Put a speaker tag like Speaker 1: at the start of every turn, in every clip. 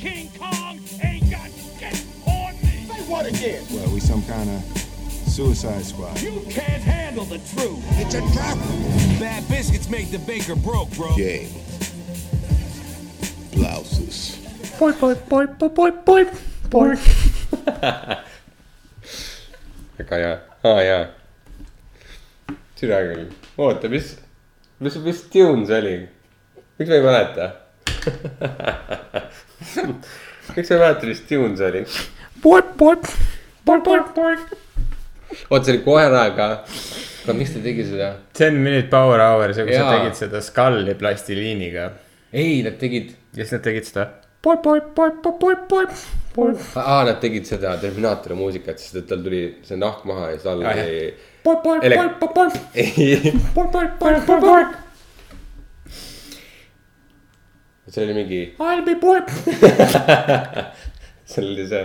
Speaker 1: King Kong ain't got shit on me.
Speaker 2: Say what again?
Speaker 3: Well, we some kind of suicide squad.
Speaker 1: You can't handle the truth.
Speaker 2: It's a trap.
Speaker 4: Bad biscuits make the baker broke, bro.
Speaker 5: James. Blouses.
Speaker 6: Boy, boy, boy, boy, boy, boy, boy.
Speaker 7: väga hea , aa jaa . süda küll , oota , mis , mis , mis tune see oli ? miks ma ei mäleta ? miks ma ei mäleta , mis tune see oli ?
Speaker 6: Boy, boy, boy, boy, boy.
Speaker 7: oota , see oli koeraga . aga miks ta tegi seda ?
Speaker 8: Ten Minute Power Hour , see kus nad
Speaker 7: Jaa.
Speaker 8: tegid seda skalli plastiliiniga .
Speaker 7: ei , nad tegid ,
Speaker 8: ja siis nad tegid seda .
Speaker 6: Boy, boy, boy, boy, boy, boy, boy.
Speaker 7: aa , nad tegid seda Terminaatori muusikat , sest et tal tuli see nahk maha ja siis all
Speaker 8: Ah, jah.
Speaker 7: oli .
Speaker 6: Boy, boy,
Speaker 7: Ele-
Speaker 6: boy, boy, boy.
Speaker 7: ei ,
Speaker 6: Boy, boy, boy, boy, boy.
Speaker 7: see oli mingi ,
Speaker 6: I'll be boy.
Speaker 7: seal oli see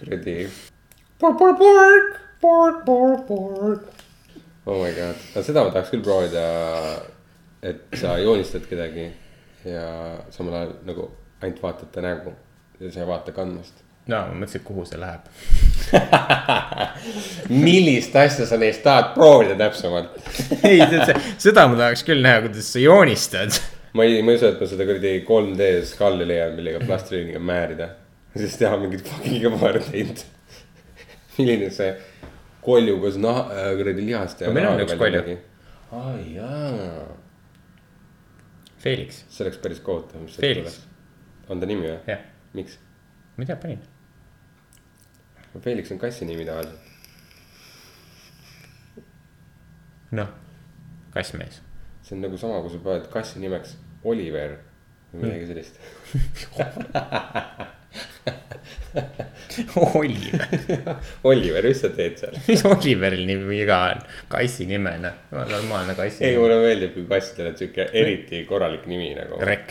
Speaker 7: kuradi ,
Speaker 6: Boy, boy, boy. Boy, boy, boy.
Speaker 7: oh my god , aga seda ma tahaks küll proovida . et sa joonistad kedagi ja samal ajal nagu ainult vaatad ta nägu ja sa ei vaata kandmast .
Speaker 8: no ma mõtlesin , kuhu see läheb .
Speaker 7: millist asja sa neist tahad proovida täpsemalt ?
Speaker 8: ei , seda ma tahaks küll näha , kuidas sa joonistad .
Speaker 7: ma ei , ma ei usu , et ma seda kuradi 3D skalli leian , millega plastiliiniga määrida . siis teha mingit fucking aparteid . milline see kolju koos naha , kuradi lihaste .
Speaker 8: Aga meil on üks kolju. .
Speaker 7: aa jaa ,
Speaker 8: Felix ,
Speaker 7: see oleks päris kohutav , mis
Speaker 8: Felix. .
Speaker 7: on ta nimi või ?
Speaker 8: jah ,
Speaker 7: miks ?
Speaker 8: ma ei tea , panin .
Speaker 7: Felix on kassi nimi tavaliselt .
Speaker 8: noh , kassmees .
Speaker 7: see on nagu sama , kui sa paned kassi nimeks Oliver või midagi sellist .
Speaker 8: Oliver ,
Speaker 7: Oliver , mis sa teed seal ?
Speaker 8: mis Oliveril nii viga on ? kassi nimena , normaalne kassi
Speaker 7: ei ,
Speaker 8: nimi .
Speaker 7: mulle meeldib , kui kassidel on sihuke eriti korralik nimi nagu .
Speaker 8: Rex ,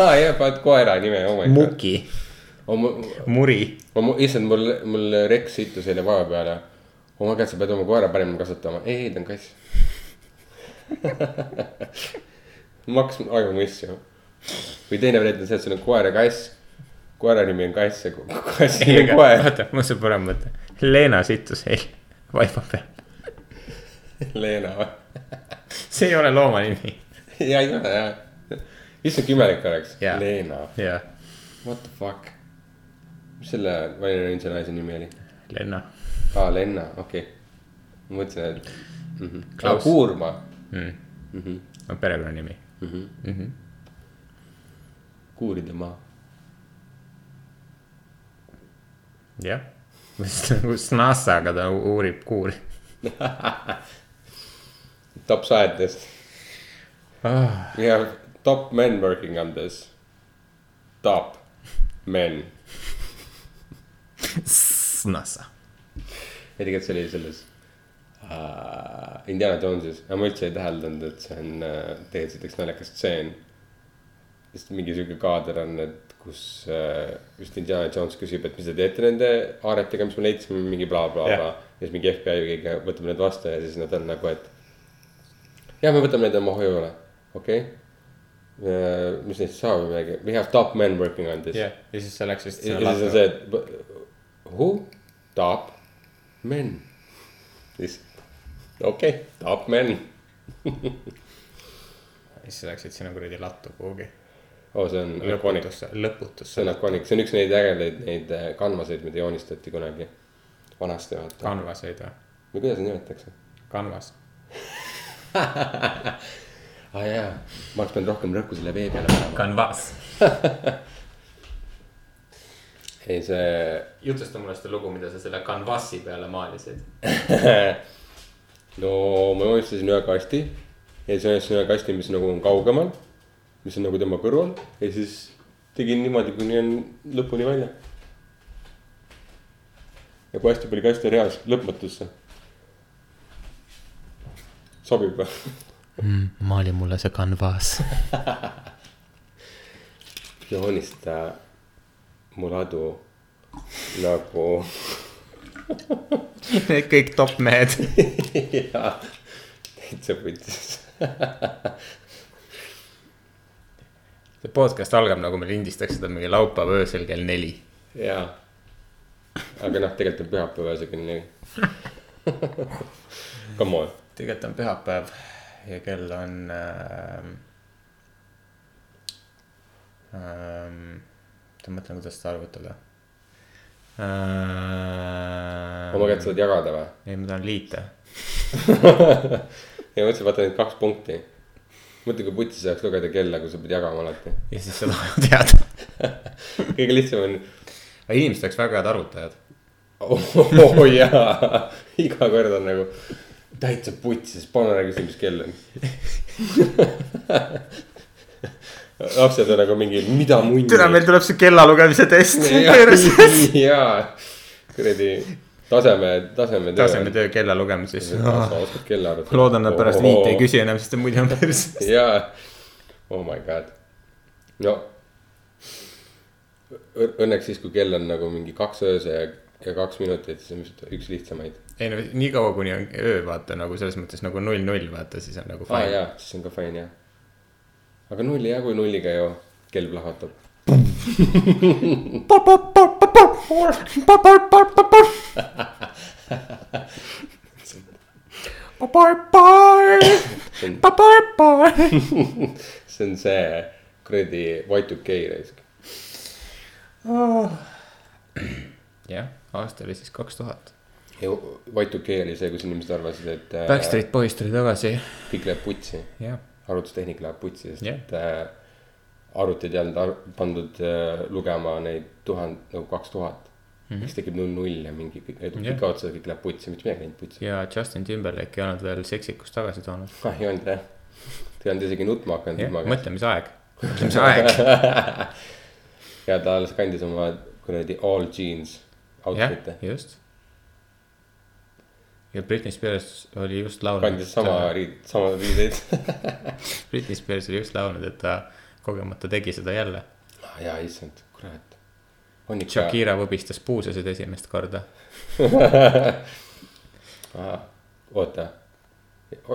Speaker 7: aa jah , paned koera nime , oh my god . Oh,
Speaker 8: Muki ,
Speaker 7: ma ,
Speaker 8: Muri ,
Speaker 7: ma , issand , mul , mul reks sittus eile vaba peale . oh my god , sa pead oma koera paremini kasvatama . ei , ei , ta on kass . maks ajumu asju . või teine variant on see , et sul on koer ja kass . koera nimi on kass ja ko- kass nimi on koer .
Speaker 8: oota , mul see parem mõte . Leena sittus eile vaiba peal ,
Speaker 7: Leena või ?
Speaker 8: see ei ole looma nimi .
Speaker 7: ja ei ole jah . issand , kui imelik oleks .
Speaker 8: Jaa.
Speaker 7: Leena ,
Speaker 8: jah ,
Speaker 7: what the fuck . mis selle Valeri Reinse naise nimi oli ?
Speaker 8: Lenna ,
Speaker 7: aa , Lenna , okei okay. . ma mõtlesin , et mm -hmm.
Speaker 8: Mhm. Klaus.
Speaker 7: Kuurma
Speaker 8: on perekonnanimi .
Speaker 7: mm . -hmm. Mm -hmm. kuuride maa .
Speaker 8: jah , nagu Snasaga ta u- uurib kuuri
Speaker 7: Top scientist
Speaker 8: ah, .
Speaker 7: we have top men working on this . Top men .
Speaker 8: Snasa ,
Speaker 7: tegelikult see oli selles uh, Indiana Jones'is , aga ma üldse ei täheldanud , et see on uh, tegelikult siukene naljakas stseen . sest mingi siuke kaader on , et kus uh, just Indiana Jones küsib , et mis te teete nende haaretega , mis me leidsime , mingi blablabla bla, . Bla. ja siis mingi FBI või keegi võtab need vastu ja siis nad on nagu , et jah , me võtame need oma hoiule , okei okay. . mis neist saab või midagi , we have top men working on this
Speaker 8: jah , ja siis see läks vist
Speaker 7: ja
Speaker 8: sinna
Speaker 7: ja siis on see ,
Speaker 8: lahti .
Speaker 7: et but who top men , siis okei okay, , top men ,
Speaker 8: ja siis läksid sinna kuradi lattu kuhugi .
Speaker 7: oh see on ikoonik ,
Speaker 8: lõputusse , lõputusse
Speaker 7: see . on ikoonik , see on üks neid ägedaid neid äh, kanvaseid , mida joonistati kunagi vanasti vaata ,
Speaker 8: kanvaseid või ?
Speaker 7: või kuidas neid nimetatakse ?
Speaker 8: kanvas .
Speaker 7: aa Ah, jaa , ma oleks pidanud rohkem rõhku selle vee peale panema .
Speaker 8: kanvas .
Speaker 7: ei see
Speaker 8: jutusta mulle seda lugu , mida sa selle kanvasi peale maalisid .
Speaker 7: no ma joonistasin ühe kasti ja siis joonistasin ühe kasti , mis nagu on kaugemal , mis on nagu tema kõrval ja siis tegin niimoodi , kuni on lõpuni välja . ja kui hästi palju kaste reas lõpmatusse . sobib või ?
Speaker 8: maali Mm, mulle see kanvas .
Speaker 7: joonista mul adu nagu
Speaker 8: Need kõik top mehed .
Speaker 7: jaa , täitsa putis .
Speaker 8: see podcast algab nagu me lindistaks seda mingi laupäeva öösel kell neli .
Speaker 7: jaa . aga noh , tegelikult on pühapäev öösel kell neli . Come on ,
Speaker 8: tegelikult on pühapäev ja kell on ähm, . Ähm, ma mõtlen , kuidas seda arvutada Äh, ähm,
Speaker 7: oma kätt saad jagada või ?
Speaker 8: ei , ma tahan liita .
Speaker 7: ja mõtlesin , vaata need kaks punkti . mõtle , kui putsi saaks lugeda kella , kui sa pead jagama alati .
Speaker 8: ja siis sa tahad teada .
Speaker 7: kõige lihtsam on ,
Speaker 8: aga inimesed oleks väga head arvutajad .
Speaker 7: oo Oh, jaa , iga kord on nagu täitsa putsis , pane ära küsi , mis kell on . lapsed on nagu mingi , mida munni .
Speaker 8: täna meil tuleb see kella lugemise test .
Speaker 7: jaa , kuradi taseme , taseme .
Speaker 8: tasemetöö kella lugemises .
Speaker 7: sa oskad kella arvutada .
Speaker 8: loodan , nad pärast viite ei . küsi enam , sest muidu on päris .
Speaker 7: jaa , oh my god , no . Õnneks siis , kui kell on nagu mingi kaks ööse ja , ja kaks minutit , siis on vist üks lihtsamaid .
Speaker 8: ei no niikaua , kuni on öö , vaata nagu selles mõttes nagu null null , vaata siis on nagu
Speaker 7: aa
Speaker 8: fine
Speaker 7: Ah, jaa , siis on ka fine jah . aga null ei jagu nulliga ju , kell plahvatab . see on see kuradi Y2K raisk .
Speaker 8: jah , aasta oli siis kaks tuhat .
Speaker 7: ja Y2K oli see , kus inimesed arvasid , et äh,
Speaker 8: Backstreet Boys tuli tagasi .
Speaker 7: kõik läheb putsi ,
Speaker 8: jah ,
Speaker 7: arvutustehnika läheb putsi , sest
Speaker 8: Jah.
Speaker 7: et äh, arvutid ei olnud ar pandud äh, lugema neid tuhand , nagu kaks tuhat . siis tekib null null ja mingi kõik ,
Speaker 8: Mhm. Jah.
Speaker 7: pika otsa kõik läheb putsi , mitte midagi ei läinud putsi .
Speaker 8: ja Justin Timberlake ei olnud veel seksikust tagasi toonud .
Speaker 7: ah ei olnud jah , ta ei olnud isegi nutma hakanud
Speaker 8: jah ,
Speaker 7: ilmaga .
Speaker 8: mõtlemisaeg , mõtlemisaeg .
Speaker 7: ja ta alles kandis oma kuradi all jeans
Speaker 8: jah
Speaker 7: outfit'e ,.
Speaker 8: just . ja Britney Spears oli just laulnud
Speaker 7: kandis . sama riid , sama riideid .
Speaker 8: Britney Spears oli just laulnud , et ta kogemata tegi seda jälle .
Speaker 7: ja Ah, issand , kurat . on ikka .
Speaker 8: Shakira võbistas puusasid esimest korda .
Speaker 7: oota ,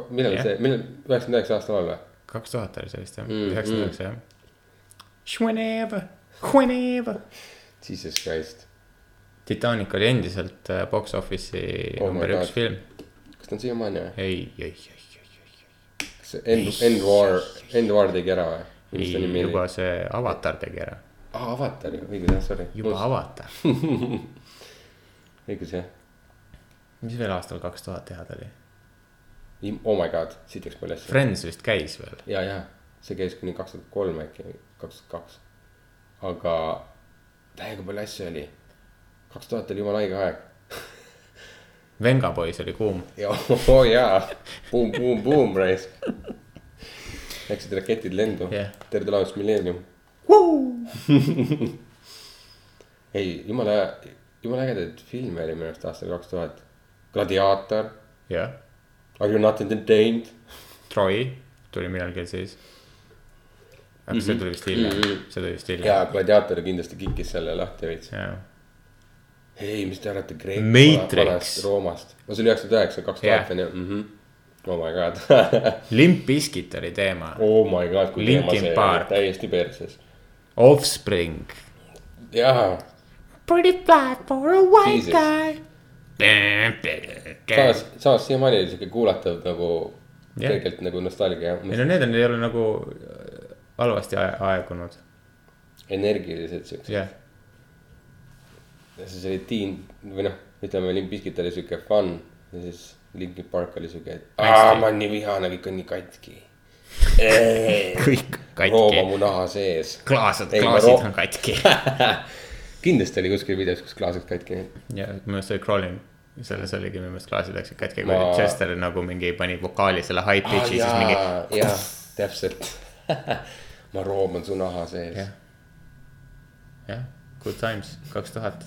Speaker 7: millal
Speaker 8: Jah.
Speaker 7: yeah. see , millal , üheksakümne üheksa aasta laul või ?
Speaker 8: kaks tuhat oli see vist jah ,
Speaker 7: Mm,
Speaker 8: üheksakümmend üheksa jah . Whenever , whenever .
Speaker 7: Jesus Christ ,
Speaker 8: Titanic oli endiselt äh, box office'i
Speaker 7: Oh
Speaker 8: oh
Speaker 7: my
Speaker 8: number üks
Speaker 7: God.
Speaker 8: film .
Speaker 7: kas ta on siiamaani või ?
Speaker 8: ei , ei , ei ,
Speaker 7: kas see End , End War , End War tegi ära või ? mis ta
Speaker 8: ei ,
Speaker 7: nimi
Speaker 8: ei ,
Speaker 7: oli
Speaker 8: juba ? see Avatar tegi ära ,
Speaker 7: aa , Avatar ju , õigus jah , sorry .
Speaker 8: juba Must. Avatar .
Speaker 7: õigus jah .
Speaker 8: mis veel aastal kaks tuhat head oli ?
Speaker 7: Oh my god , siit läks palju asju .
Speaker 8: Friends vist käis veel ,
Speaker 7: ja , ja see käis kuni kaks tuhat kolm äkki , kaks tuhat kaks . aga täiega palju asju oli . kaks tuhat oli jumala haige aeg .
Speaker 8: Venga Boys oli kuum .
Speaker 7: ja oo jaa , buum , buum , buum raisk . Läksid raketid lendu
Speaker 8: Jah.
Speaker 7: terve laevas Millennium . ei , jumala , jumala ägedaid filme oli minu arust aastal kaks tuhat . gladiaator ,
Speaker 8: jah ,
Speaker 7: Are you not entertained
Speaker 8: Troy tuli millalgi siis . aga
Speaker 7: Mhm.
Speaker 8: see tuli vist hiljem , see tuli vist hiljem .
Speaker 7: ja gladiaator kindlasti kikkis selle lahti veits .
Speaker 8: jah ,
Speaker 7: ei , mis te arvate , Kreeka
Speaker 8: Matrix.
Speaker 7: vanast Roomast , no see oli üheksakümmend üheksa , kaks
Speaker 8: Jah.
Speaker 7: tuhat on ju , oh my god ,
Speaker 8: Limp Bizkit oli teema ,
Speaker 7: oh my god , kui teema
Speaker 8: Linkin
Speaker 7: see oli
Speaker 8: Park.
Speaker 7: täiesti perses ,
Speaker 8: Offspring .
Speaker 7: jaa
Speaker 6: Pretty fly for a white guy.
Speaker 7: Jesus. samas , samas siiamaani oli sihuke kuulatav nagu
Speaker 8: Jah.
Speaker 7: yeah. tegelikult nagu nostalgia
Speaker 8: ei , no need on , ei ole nagu äh, halvasti ae- aegunud ,
Speaker 7: energilised siuksed
Speaker 8: jah ,
Speaker 7: yeah. , siis oli teen või noh , ütleme Limbiskit oli sihuke fun ja siis Linkin Park oli sihuke , et aa , ma olen nii vihane , kõik on nii katki .
Speaker 8: kõik
Speaker 7: rooma
Speaker 8: katki ,
Speaker 7: mu naha sees .
Speaker 8: klaasad ,
Speaker 7: Ei, ma
Speaker 8: klaasid
Speaker 7: ro-
Speaker 8: on katki .
Speaker 7: kindlasti oli kuskil videos , kus klaasid katki olid .
Speaker 8: ja minu meelest oli Crawling , selles oligi minu meelest klaasid läksid katki , kui
Speaker 7: Ma-
Speaker 8: ma... Chester nagu mingi pani vokaali selle high
Speaker 7: Ah,
Speaker 8: pitch'i , siis mingi .
Speaker 7: jah , täpselt . ma rooman su naha sees
Speaker 8: Jah.
Speaker 7: yeah. .
Speaker 8: jah , good times , kaks tuhat .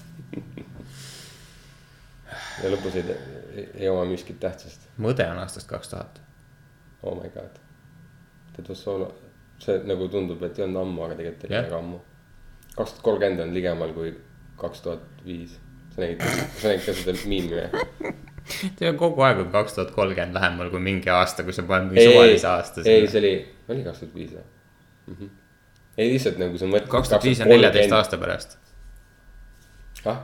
Speaker 7: ja lõpus ei, ei, ei oma miskit tähtsust .
Speaker 8: mõde on aastast kaks tuhat ,
Speaker 7: oh my god . That was so long , see nagu tundub , et ei olnud ammu , aga tegelikult oli
Speaker 8: Jah.
Speaker 7: väga ammu . kaks tuhat kolmkümmend on ligemal kui kaks tuhat viis . sa nägid , sa nägid ka seda miimi või ?
Speaker 8: see on kogu aeg on kaks tuhat kolmkümmend lähemal kui mingi aasta , kui sa paned mingi
Speaker 7: ei , ei ,
Speaker 8: suvalise aasta
Speaker 7: see . oli , oli kaks tuhat viis või ? Mhm. ei lihtsalt nagu sa mõtled .
Speaker 8: kaks tuhat viis on neljateist . aasta pärast .
Speaker 7: ah ,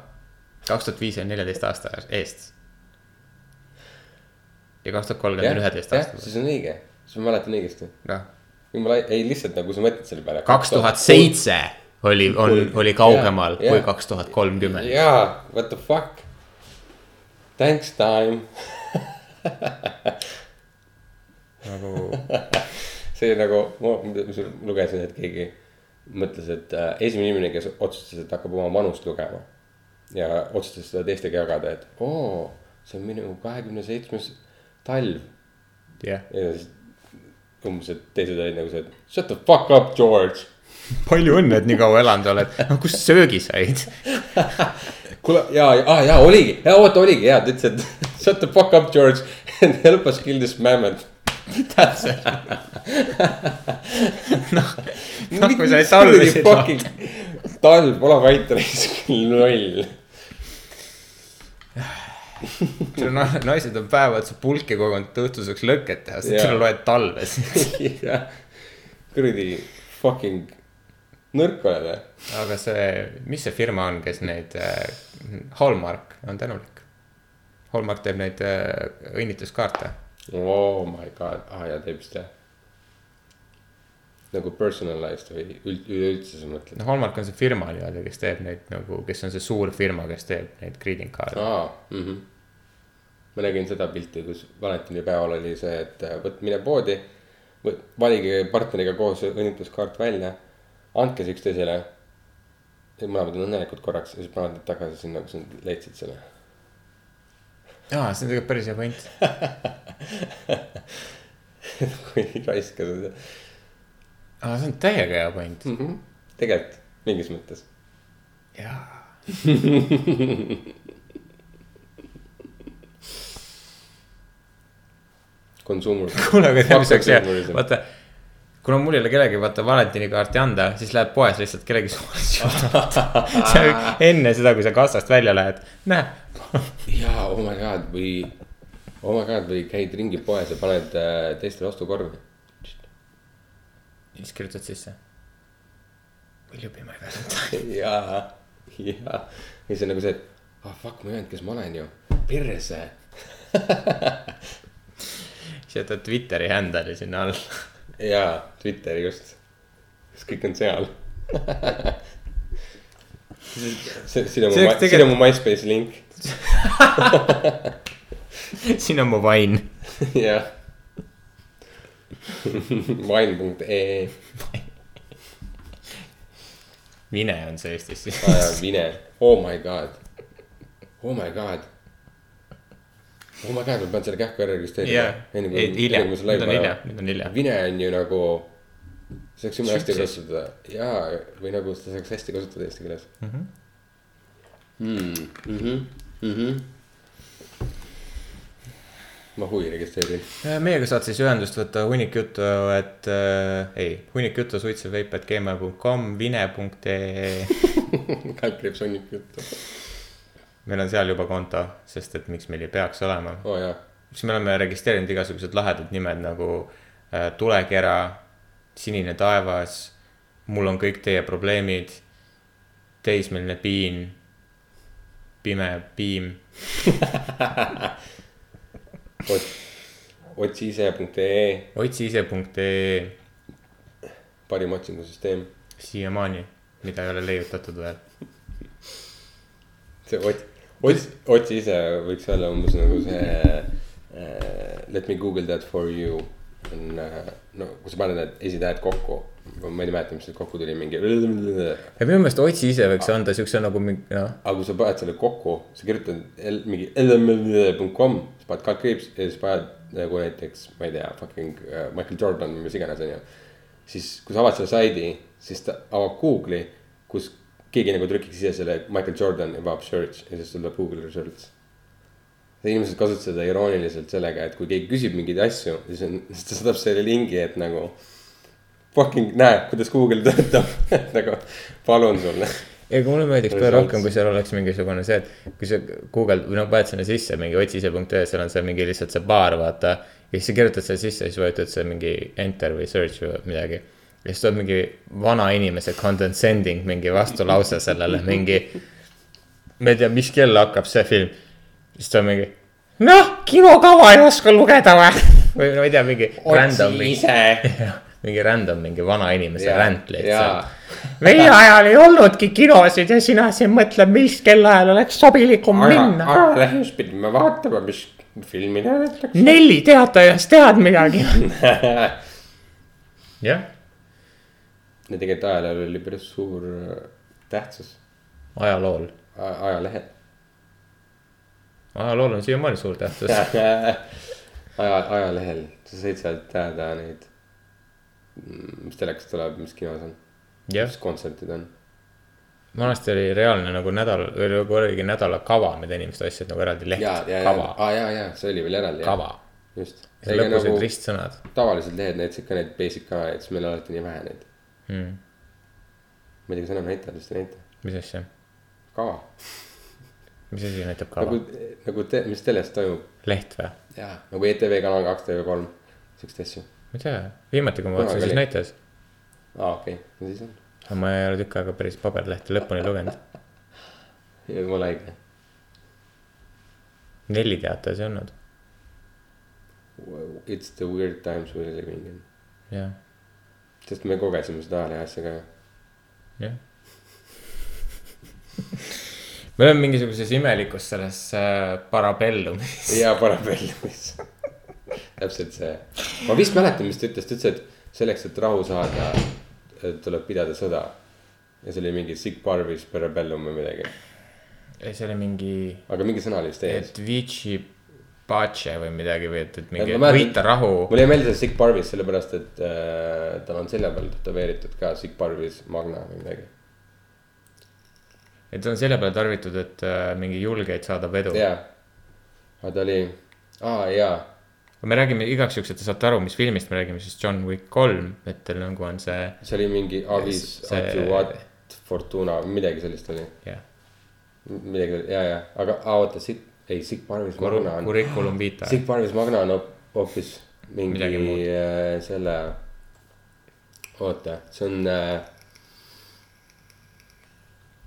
Speaker 8: kaks tuhat viis on neljateist aasta eest . ja kaks tuhat kolmkümmend on
Speaker 7: jah ,
Speaker 8: üheteist
Speaker 7: jah
Speaker 8: aasta , pärast .
Speaker 7: siis on õige , siis ma mäletan õigesti .
Speaker 8: noh ,
Speaker 7: jumala , ei lihtsalt nagu sa mõtled selle peale .
Speaker 8: kaks tuhat . seitse oli , on , oli kaugemal
Speaker 7: Jah,
Speaker 8: kui
Speaker 7: jah.
Speaker 8: kaks tuhat kolmkümmend .
Speaker 7: jaa , what the fuck . Thanks time ,
Speaker 8: nagu
Speaker 7: see nagu , ma ma lugesin , et keegi mõtles , et äh, esimene inimene , kes otsustas , et hakkab oma vanust lugema ja otsustas seda teistega jagada , et oo , see on minu kahekümne seitsmes talv
Speaker 8: jah .
Speaker 7: ja siis umbes , et teised olid nagu see , et shut the fuck up , George .
Speaker 8: palju õnne , et nii kaua elanud oled . kust söögi said ?
Speaker 7: kuule , jaa , jaa , jaa , oligi , oota , oligi , jaa , ta ütles , et shut the fuck up , George and help us kill this mammoth .
Speaker 8: täpselt . noh , kui sa
Speaker 7: Mis
Speaker 8: ei salli
Speaker 7: kuradi
Speaker 8: seda .
Speaker 7: fucking talv , ole vait , raisk , loll .
Speaker 8: sul on , naised on päev otsa pulki kogunud , et õhtuseks lõket teha , siis
Speaker 7: Jaa.
Speaker 8: sa loed talves .
Speaker 7: kuradi fucking nõrk oled või ?
Speaker 8: aga see , mis see firma on , kes neid äh, , Hallmark on tänulik . Hallmark teeb neid äh, õnnitluskaarte .
Speaker 7: oh my god , aa jaa , teeb seda . nagu personalized või üld- , üleüldse sa mõtled ?
Speaker 8: noh , Hallmark on see firma nii-öelda , kes teeb neid nagu , kes on see suur firma , kes teeb neid greeting card'e .
Speaker 7: aa ,
Speaker 8: Mhm.
Speaker 7: mhmh . ma nägin seda pilti , kus valentinipäeval oli see , et äh, vot mine poodi , valige partneriga koos õnnitluskaart välja , andke see üksteisele . ja mõlemad on õnnelikud korraks ja siis paned need tagasi sinna , kus nad leidsid selle .
Speaker 8: aa , see on tegelikult päris hea point .
Speaker 7: kui raiska seda
Speaker 8: aa , see on täiega hea point .
Speaker 7: mm -hmm. . tegelikult mingis mõttes . Mm.
Speaker 8: jaa .
Speaker 7: Consumer .
Speaker 8: kuule , aga tead , mis oleks hea , vaata . kuna mul ei ole kellelegi vaata valentinikaarti anda , siis läheb poes lihtsalt kellegi suunas juurde . see on enne seda , kui sa kassast välja lähed , näe .
Speaker 7: jaa , oh my god või , oh my god või käid ringi poes ja paned äh, teistele ostukorvi .
Speaker 8: ja siis kirjutad sisse . Will you be my valentine ?
Speaker 7: jaa , jaa . ja siis on nagu see , et ah oh, fuck , ma ei öelnud , kes ma olen ju . perse .
Speaker 8: siis jätad Twitteri handle'i sinna alla .
Speaker 7: jaa , Twitter just . siis kõik on seal . see , siin
Speaker 8: See
Speaker 7: on mu
Speaker 8: oleks ,
Speaker 7: siin on mu MySpace link .
Speaker 8: siin on mu vain .
Speaker 7: jah . Vine.ee ,
Speaker 8: Vine on see Eestis siis .
Speaker 7: Vine , oh my god . Oh my god . Oh my god , ma pean selle kähku ära registreerima
Speaker 8: jah , ei hiljem , nüüd on hiljem , nüüd on hiljem .
Speaker 7: vine on ju nagu , see oleks jumala hästi
Speaker 8: Süksis.
Speaker 7: kasutada jaa , või nagu seda saaks hästi kasutada eesti keeles mm . -hmm. Mm -hmm. mm -hmm. ma huvi registreerin .
Speaker 8: Äh, meiega saad siis ühendust võtta hunnikjutu , et äh, ei , hunnikjutu suitsuveip.gmail.com , vine.ee
Speaker 7: kalk käib sonniku juttu .
Speaker 8: meil on seal juba konto , sest et miks meil ei peaks olema .
Speaker 7: oo Oh, jaa ,
Speaker 8: siis me oleme registreerinud igasugused lahedad nimed nagu äh, tulekera , sinine taevas , mul on kõik teie probleemid , teismeline piin , pime piim ,
Speaker 7: ot- , otsiise.ee ,
Speaker 8: otsi ise.ee ,
Speaker 7: parim otsingusüsteem .
Speaker 8: siiamaani , mida ei ole leiutatud veel .
Speaker 7: see ot- , ots- , otsiise võiks olla umbes nagu see uh, let me google that for you on uh, , no kui sa paned need esitähed kokku , ma ei mäleta , mis sealt kokku tuli , mingi aga
Speaker 8: ja minu meelest otsi ise võiks anda siukse nagu mingi noh ,
Speaker 7: kui sa paned selle kokku , sa kirjutad el, mingi lmm.com , siis paned kalkriips ja siis paned nagu näiteks , ma ei tea , fucking uh, Michael Jordan või mis iganes , onju . siis , kui sa avad selle saidi , siis ta avab Google'i , kus keegi nagu trükiks ise selle Michael Jordan ja vajab search ja siis tuleb Google results . inimesed kasutavad seda irooniliselt sellega , et kui keegi küsib mingeid asju , siis on , siis ta saadab selle lingi , et nagu fucking näe , kuidas Google töötab , et nagu palun sulle
Speaker 8: ega mulle meeldiks palju
Speaker 7: Results.
Speaker 8: rohkem , kui seal oleks mingisugune see , et kui sa Google või noh , paned sinna sisse mingi otsise.ee , seal on see mingi lihtsalt see baar , vaata . ja siis sa kirjutad selle sisse , siis vajutad see mingi enter või search või midagi . ja siis tuleb mingi vanainimese condescending mingi vastulause sellele , mingi . ma ei tea , mis kell hakkab see film , siis tuleb mingi , noh , kinokava ei oska lugeda või , või no ma ei tea , mingi . random mingi , mingi random mingi vanainimese ränd lihtsalt . meie ajal ei olnudki kinosid ja sina siin mõtled , mis kellaajal oleks sobilikum minna .
Speaker 7: ajalehes pidime vaatama , mis filmi näidatakse .
Speaker 8: Nelli teatajas tead midagi ? jah ,
Speaker 7: ja tegelikult ajalehel oli päris suur äh, tähtsus ,
Speaker 8: ajalool ,
Speaker 7: ajalehed .
Speaker 8: ajalool on siiamaani suur tähtsus .
Speaker 7: aja , ajalehel , sa said sealt teada neid , mis telekas tuleb , mis kinos on ,
Speaker 8: jah
Speaker 7: mis , kontserdid on .
Speaker 8: vanasti oli reaalne nagu nädal , või nagu oligi nädala kava , mida inimesed ostsid nagu eraldi leht ,
Speaker 7: ja , ja , ja ,
Speaker 8: kava ,
Speaker 7: aa ja , ja see oli veel eraldi .
Speaker 8: kava .
Speaker 7: just .
Speaker 8: lõpus
Speaker 7: nagu-
Speaker 8: olid ristsõnad ,
Speaker 7: tavalised lehed näitasid ka neid basic kanaleid , siis meil alati nii vähe neid mm. .
Speaker 8: Hmm.
Speaker 7: ma ei tea , kas enam näitab , vist ei näita .
Speaker 8: mis asja ,
Speaker 7: kava,
Speaker 8: mis asi näitab
Speaker 7: kava. ,
Speaker 8: kava ,
Speaker 7: nagu , nagu te, , mis teles toimub .
Speaker 8: leht või ?
Speaker 7: jaa , nagu ETV Kanal kaks , TV3 , siukseid asju .
Speaker 8: ma ei tea , viimati kui ma
Speaker 7: Kunagi
Speaker 8: vaatasin , siis
Speaker 7: oli.
Speaker 8: näitas ,
Speaker 7: aa , okei okay. , no siis on .
Speaker 8: aga ma ei ole tükk aega päris paberlehte lõpuni lugenud .
Speaker 7: jumala õige .
Speaker 8: Nelli teatajas ei olnud ,
Speaker 7: It's the weird times we are living in .
Speaker 8: jah ,
Speaker 7: sest me kogesime seda ajalehe asja ka .
Speaker 8: jah . me oleme mingisuguses imelikus selles äh, parabellumis .
Speaker 7: ja parabellumis . täpselt see . ma vist mäletan , mis ta ütles , ta ütles , et selleks , et rahu saada , tuleb pidada sõda . ja see oli mingi sick parvis parabellum või midagi ,
Speaker 8: ei , see oli mingi
Speaker 7: aga mingi sõna oli vist ees .
Speaker 8: et Vici Pace või midagi või et , et mingi
Speaker 7: ma
Speaker 8: et
Speaker 7: mäletan-
Speaker 8: võita rahu .
Speaker 7: mulle ei meeldi see sick parvis sellepärast , et äh, tal on selja peal tätoveeritud ka sick parvis magna või midagi .
Speaker 8: et on selle peale tarvitud , et äh, mingi julgeid saada vedu yeah. .
Speaker 7: jaa . aga ta oli , aa jaa ,
Speaker 8: me räägime igaks juhuks , et te saate aru , mis filmist me räägime , siis John Wick kolm , et teil nagu on see ,
Speaker 7: see oli mingi Avis
Speaker 8: See-
Speaker 7: Atu What Fortuna , midagi sellist oli .
Speaker 8: jah ,
Speaker 7: midagi oli , ja , ja , aga aa, oota , Sig- , ei Sig Parvis Magna on ,
Speaker 8: curriculum vitae
Speaker 7: Sig Parvis Magna on hoop- hoopis mingi
Speaker 8: Midagi muud.
Speaker 7: äh, selle , oota , see on äh... .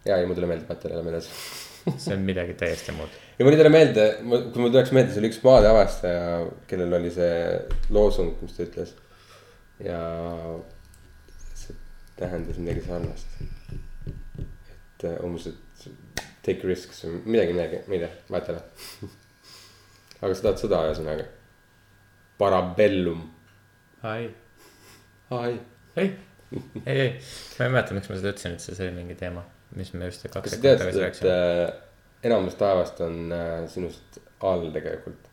Speaker 7: ja ei , mul tuli meelde , vaata , läheme edasi .
Speaker 8: see on midagi täiesti muud .
Speaker 7: ja mul ei tule meelde , kui mul tuleks meelde , see oli üks maade avastaja , kellel oli see loosung , mis ta ütles . ja see tähendas midagi sarnast . et äh, umbes , et take risks või midagi , midagi , ma ei tea , ma ei tea . aga sa tahad sõda , ühesõnaga . Parabellum .
Speaker 8: ei ,
Speaker 7: ai ,
Speaker 8: ei , ei , ei , ma ei mäleta , miks ma seda ütlesin , et see , see oli mingi teema , mis me just kaks
Speaker 7: kas sa
Speaker 8: sekundit
Speaker 7: tead
Speaker 8: tagasi
Speaker 7: seda , et
Speaker 8: rääkisime .
Speaker 7: äh, enamus taevast on äh, sinust all tegelikult ?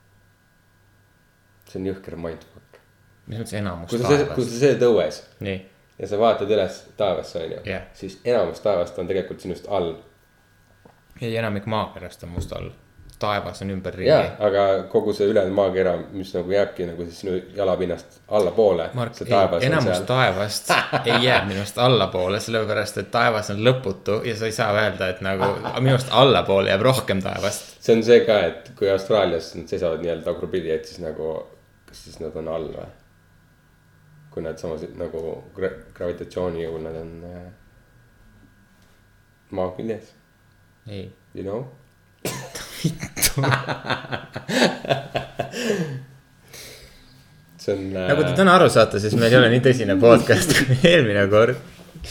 Speaker 7: see on jõhker mindfuck .
Speaker 8: mis mõttes enamus
Speaker 7: kui sa , kui
Speaker 8: taevas ?
Speaker 7: sa seed õues
Speaker 8: nii ,
Speaker 7: ja sa vaatad üles taevasse , onju
Speaker 8: Jah.
Speaker 7: siis enamus taevast on tegelikult sinust all .
Speaker 8: ei enamik maakerast on must all , taevas on
Speaker 7: jaa
Speaker 8: ümberringi ,.
Speaker 7: aga kogu see ülejäänud maakera , mis nagu jääbki nagu siis sinu jalapinnast allapoole .
Speaker 8: Mark , ei , enamus taevast ei jää minust allapoole , sellepärast et taevas on lõputu ja sa ei saa öelda , et nagu minust allapoole jääb rohkem taevast .
Speaker 7: see on see ka , et kui Austraalias nad seisavad nii-öelda tagurpidi , et siis nagu , kas siis nad on all või ? kui nad samas nagu gra gravitatsiooni jõul nad on äh, maa küljes ,
Speaker 8: ei ,
Speaker 7: you know . see on äh,
Speaker 8: nagu te täna aru saate , siis meil ei ole nii tõsine podcast kui eelmine kord .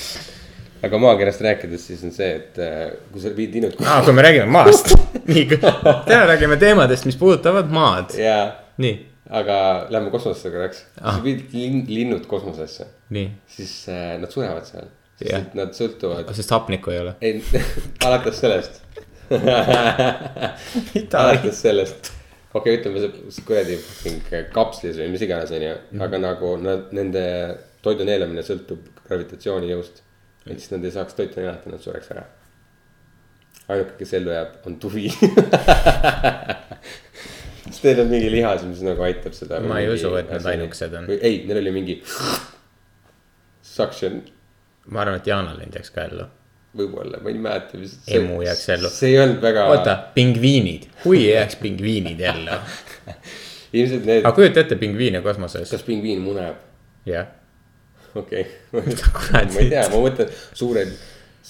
Speaker 7: aga maakerast rääkides , siis on see , et äh, kui sa viid linnud
Speaker 8: aa , Ah, kui me räägime maast , nii , täna räägime teemadest , mis puudutavad maad .
Speaker 7: ja ,
Speaker 8: nii ,
Speaker 7: aga lähme kosmosesse korraks ah. . sa viid lin, linnud kosmosesse ,
Speaker 8: nii ,
Speaker 7: siis äh, nad surevad seal , sest
Speaker 8: Jah.
Speaker 7: yeah. nad sõltuvad ,
Speaker 8: sest hapnikku ei ole .
Speaker 7: ei alates sellest , alates sellest . okei okay, , ütleme see kuradi fucking kapslis või mis iganes , onju ,
Speaker 8: Mhm.
Speaker 7: aga nagu nad , nende toidu neelamine sõltub gravitatsioonijõust . ehk siis nad ei saaks toitu neelata , nad sureks ära . ainuke , kes ellu jääb , on tuvi . sest neil on mingi lihas , mis nagu aitab seda .
Speaker 8: Ma ei usu, et nad ainukesed on.
Speaker 7: ei , neil oli mingi suction
Speaker 8: ma arvan , et Jaanal ei teaks ka ellu .
Speaker 7: võib-olla , ma ei mäleta , mis .
Speaker 8: Emu jääks ellu.
Speaker 7: see ei olnud väga .
Speaker 8: oota , pingviinid , kui ei jääks pingviinid ellu . Ah,
Speaker 7: ilmselt need
Speaker 8: aga , kujuta ette pingviine kosmoses ,
Speaker 7: kas pingviin muneb
Speaker 8: jah
Speaker 7: okei .
Speaker 8: Mida kuradi?
Speaker 7: ma ei tea , ma mõtlen suured ,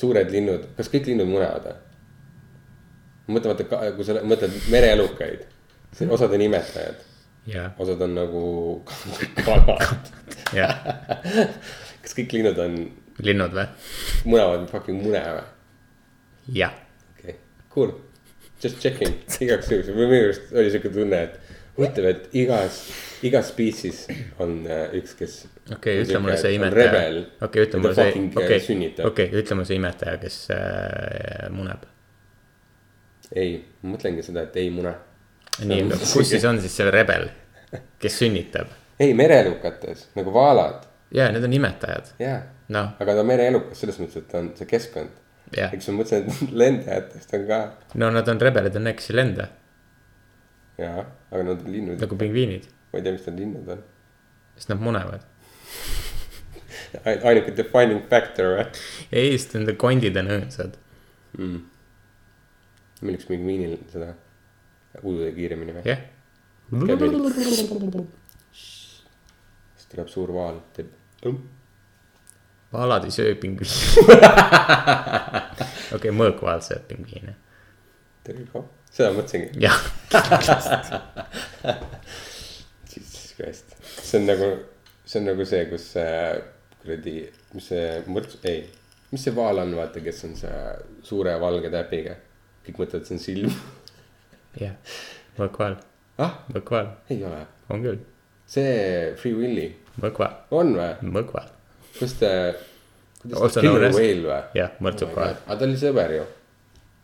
Speaker 7: suured linnud , kas kõik linnud munevad või ? ma mõtlen , vaata , kui sa mõtled mereelukaid , osad on imetajad ,
Speaker 8: jah ,
Speaker 7: osad on nagu kalad .
Speaker 8: jah ,
Speaker 7: kas kõik linnud on ,
Speaker 8: linnud või ?
Speaker 7: munevad fucking mune või ?
Speaker 8: jah ,
Speaker 7: okei okay. , cool , just checking igaks juhuks , minu meelest oli siuke tunne , et huvitav , et igas , igas species on äh, üks , kes .
Speaker 8: okei , ütle mulle see imetaja . okei , ütle mulle see , okei ,
Speaker 7: sünnitab okay. .
Speaker 8: okei , ütle mulle see imetaja , kes äh, muneb .
Speaker 7: ei , ma mõtlengi seda , et ei mune .
Speaker 8: nii , kus siis on siis see rebel , kes sünnitab ?
Speaker 7: ei , mereelukates nagu vaalad ,
Speaker 8: jaa , need on imetajad ,
Speaker 7: jaa .
Speaker 8: noh ,
Speaker 7: aga ta on mereelukas selles mõttes , et ta on see keskkond .
Speaker 8: jah .
Speaker 7: eks ma mõtlesin , et lendajatest on ka ,
Speaker 8: no nad on rebelid , on äkki lenda ,
Speaker 7: jaa , aga nad on linnud nagu... ,
Speaker 8: nagu pingviinid ,
Speaker 7: ma ei tea , mis nad linnud on .
Speaker 8: sest nad munevad .
Speaker 7: ainuke defining factor või ?
Speaker 8: ei , sest nende kondid on õõnsad .
Speaker 7: mm. . milleks pingviinil seda ujuda kiiremini või ?
Speaker 8: jah ,
Speaker 7: siis tuleb suur vaal , teeb tõmp .
Speaker 8: vaalad ei söö pingviine . okei okay, , mõõkvaal sööb pingviine ,
Speaker 7: There you go , seda mõtlesingi .
Speaker 8: jah ,
Speaker 7: Jesus Christ , see on nagu , see on nagu see , kus äh, kuradi , mis see mõrts , ei , mis see vaal on , vaata , kes on see suure valge täpiga . kõik mõtlevad , see on silm .
Speaker 8: jah , mõõkvaal ,
Speaker 7: ah ,
Speaker 8: mõõkvaal ,
Speaker 7: ei ole ,
Speaker 8: on küll ,
Speaker 7: see Free Willy
Speaker 8: mõõkvaal ,
Speaker 7: on või ,
Speaker 8: mõõkvaal ,
Speaker 7: kus ta , kuidas
Speaker 8: Otsa
Speaker 7: ta , Killer
Speaker 8: nõunast.
Speaker 7: Whale või ?
Speaker 8: jah , mõrtsukvaal .
Speaker 7: aga ta oli sõber ju .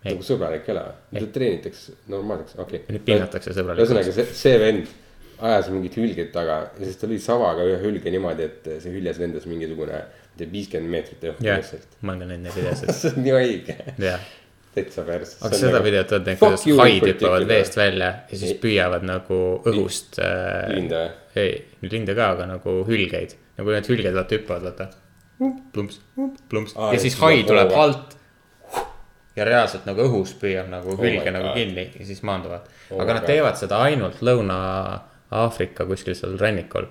Speaker 8: Ei.
Speaker 7: nagu sõbralik ei ole või ? ta treenitakse normaalseks , okei
Speaker 8: nüüd . pinnatakse sõbralikult ,
Speaker 7: ühesõnaga see , see vend ajas mingit hülget taga ja siis ta lõi savaga ühe hülge niimoodi , et see hüljes lendas mingisugune , ma ei tea , viiskümmend meetrit õhku
Speaker 8: jah
Speaker 7: lihtsalt .,
Speaker 8: ma olen nende videosid ,
Speaker 7: see on nii õige .
Speaker 8: jah
Speaker 7: täitsa pers .
Speaker 8: aga seda nagu... videot on tehtud , kuidas haid hüppavad veest . välja ja siis
Speaker 7: Ei.
Speaker 8: püüavad nagu õhust äh, .
Speaker 7: Linde või?
Speaker 8: ei , linde ka , aga nagu hülgeid , nagu need hülged vaata hüppavad , vaata . plumps , plumps
Speaker 7: Aa,
Speaker 8: ja
Speaker 7: ja
Speaker 8: siis
Speaker 7: siis
Speaker 8: hai
Speaker 7: tuleb
Speaker 8: tuleb
Speaker 7: hooga.
Speaker 8: alt . ja reaalselt nagu õhus püüab nagu hülge
Speaker 7: my
Speaker 8: oh nagu
Speaker 7: God.
Speaker 8: kinni ja siis maanduvad
Speaker 7: Oh
Speaker 8: oh .
Speaker 7: my
Speaker 8: aga nad
Speaker 7: God.
Speaker 8: teevad seda ainult Lõuna-Aafrika kuskil seal rannikul .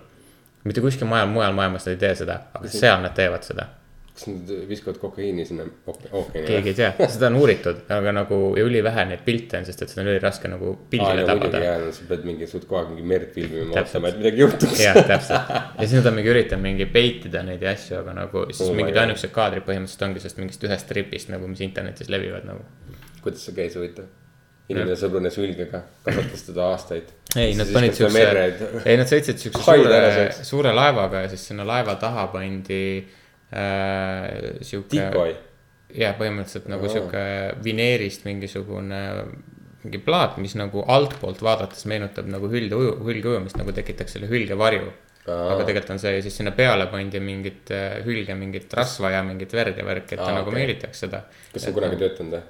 Speaker 8: mitte kuskil mujal , mujal maailmas nad ei tee seda , aga seal nad teevad seda
Speaker 7: kas nad viskavad kokaiini sinna ooke- ookeani
Speaker 8: keegi ? ei tea , seda on uuritud , aga nagu ja ülivähe neid pilte on , sest et seda on üliraske nagu pildile
Speaker 7: muidugi
Speaker 8: tabada .
Speaker 7: jah , sa pead mingi suht kogu aeg mingi merd filmima ,
Speaker 8: Täpselt.
Speaker 7: ootama , et midagi juhtuks .
Speaker 8: jah , täpselt . ja siis nad on mingi üritanud mingi peitida neid ja asju , aga nagu siis
Speaker 7: Oh
Speaker 8: oh
Speaker 7: my
Speaker 8: mingid
Speaker 7: God.
Speaker 8: ainukesed kaadrid põhimõtteliselt ongi sellest mingist ühest tripist nagu , mis internetis levivad nagu .
Speaker 7: kuidas see käis , huvitav ? inimene sõbrunes hülgega , kasvatas teda aastaid .
Speaker 8: ei , nad panid siukse , ei nad sõitsid siukse
Speaker 7: Haid
Speaker 8: suure
Speaker 7: ära sööks. ,
Speaker 8: suure laevaga ja siis sinna laeva taha pandi äh, siuke
Speaker 7: tikoi ..
Speaker 8: jah , põhimõtteliselt nagu
Speaker 7: Aa.
Speaker 8: oh. sihuke vineerist mingisugune , mingi plaat , mis nagu altpoolt vaadates meenutab nagu hülge uju , hülge ujumist , nagu tekitaks selle hülge varju .
Speaker 7: Aa.
Speaker 8: aga tegelikult on see ja siis sinna peale pandi mingit äh, hülge , mingit rasva ja mingit verd ja värki , et ta
Speaker 7: Aa,
Speaker 8: nagu
Speaker 7: okei.
Speaker 8: okay. meelitaks seda .
Speaker 7: kas see on kunagi töötanud või ?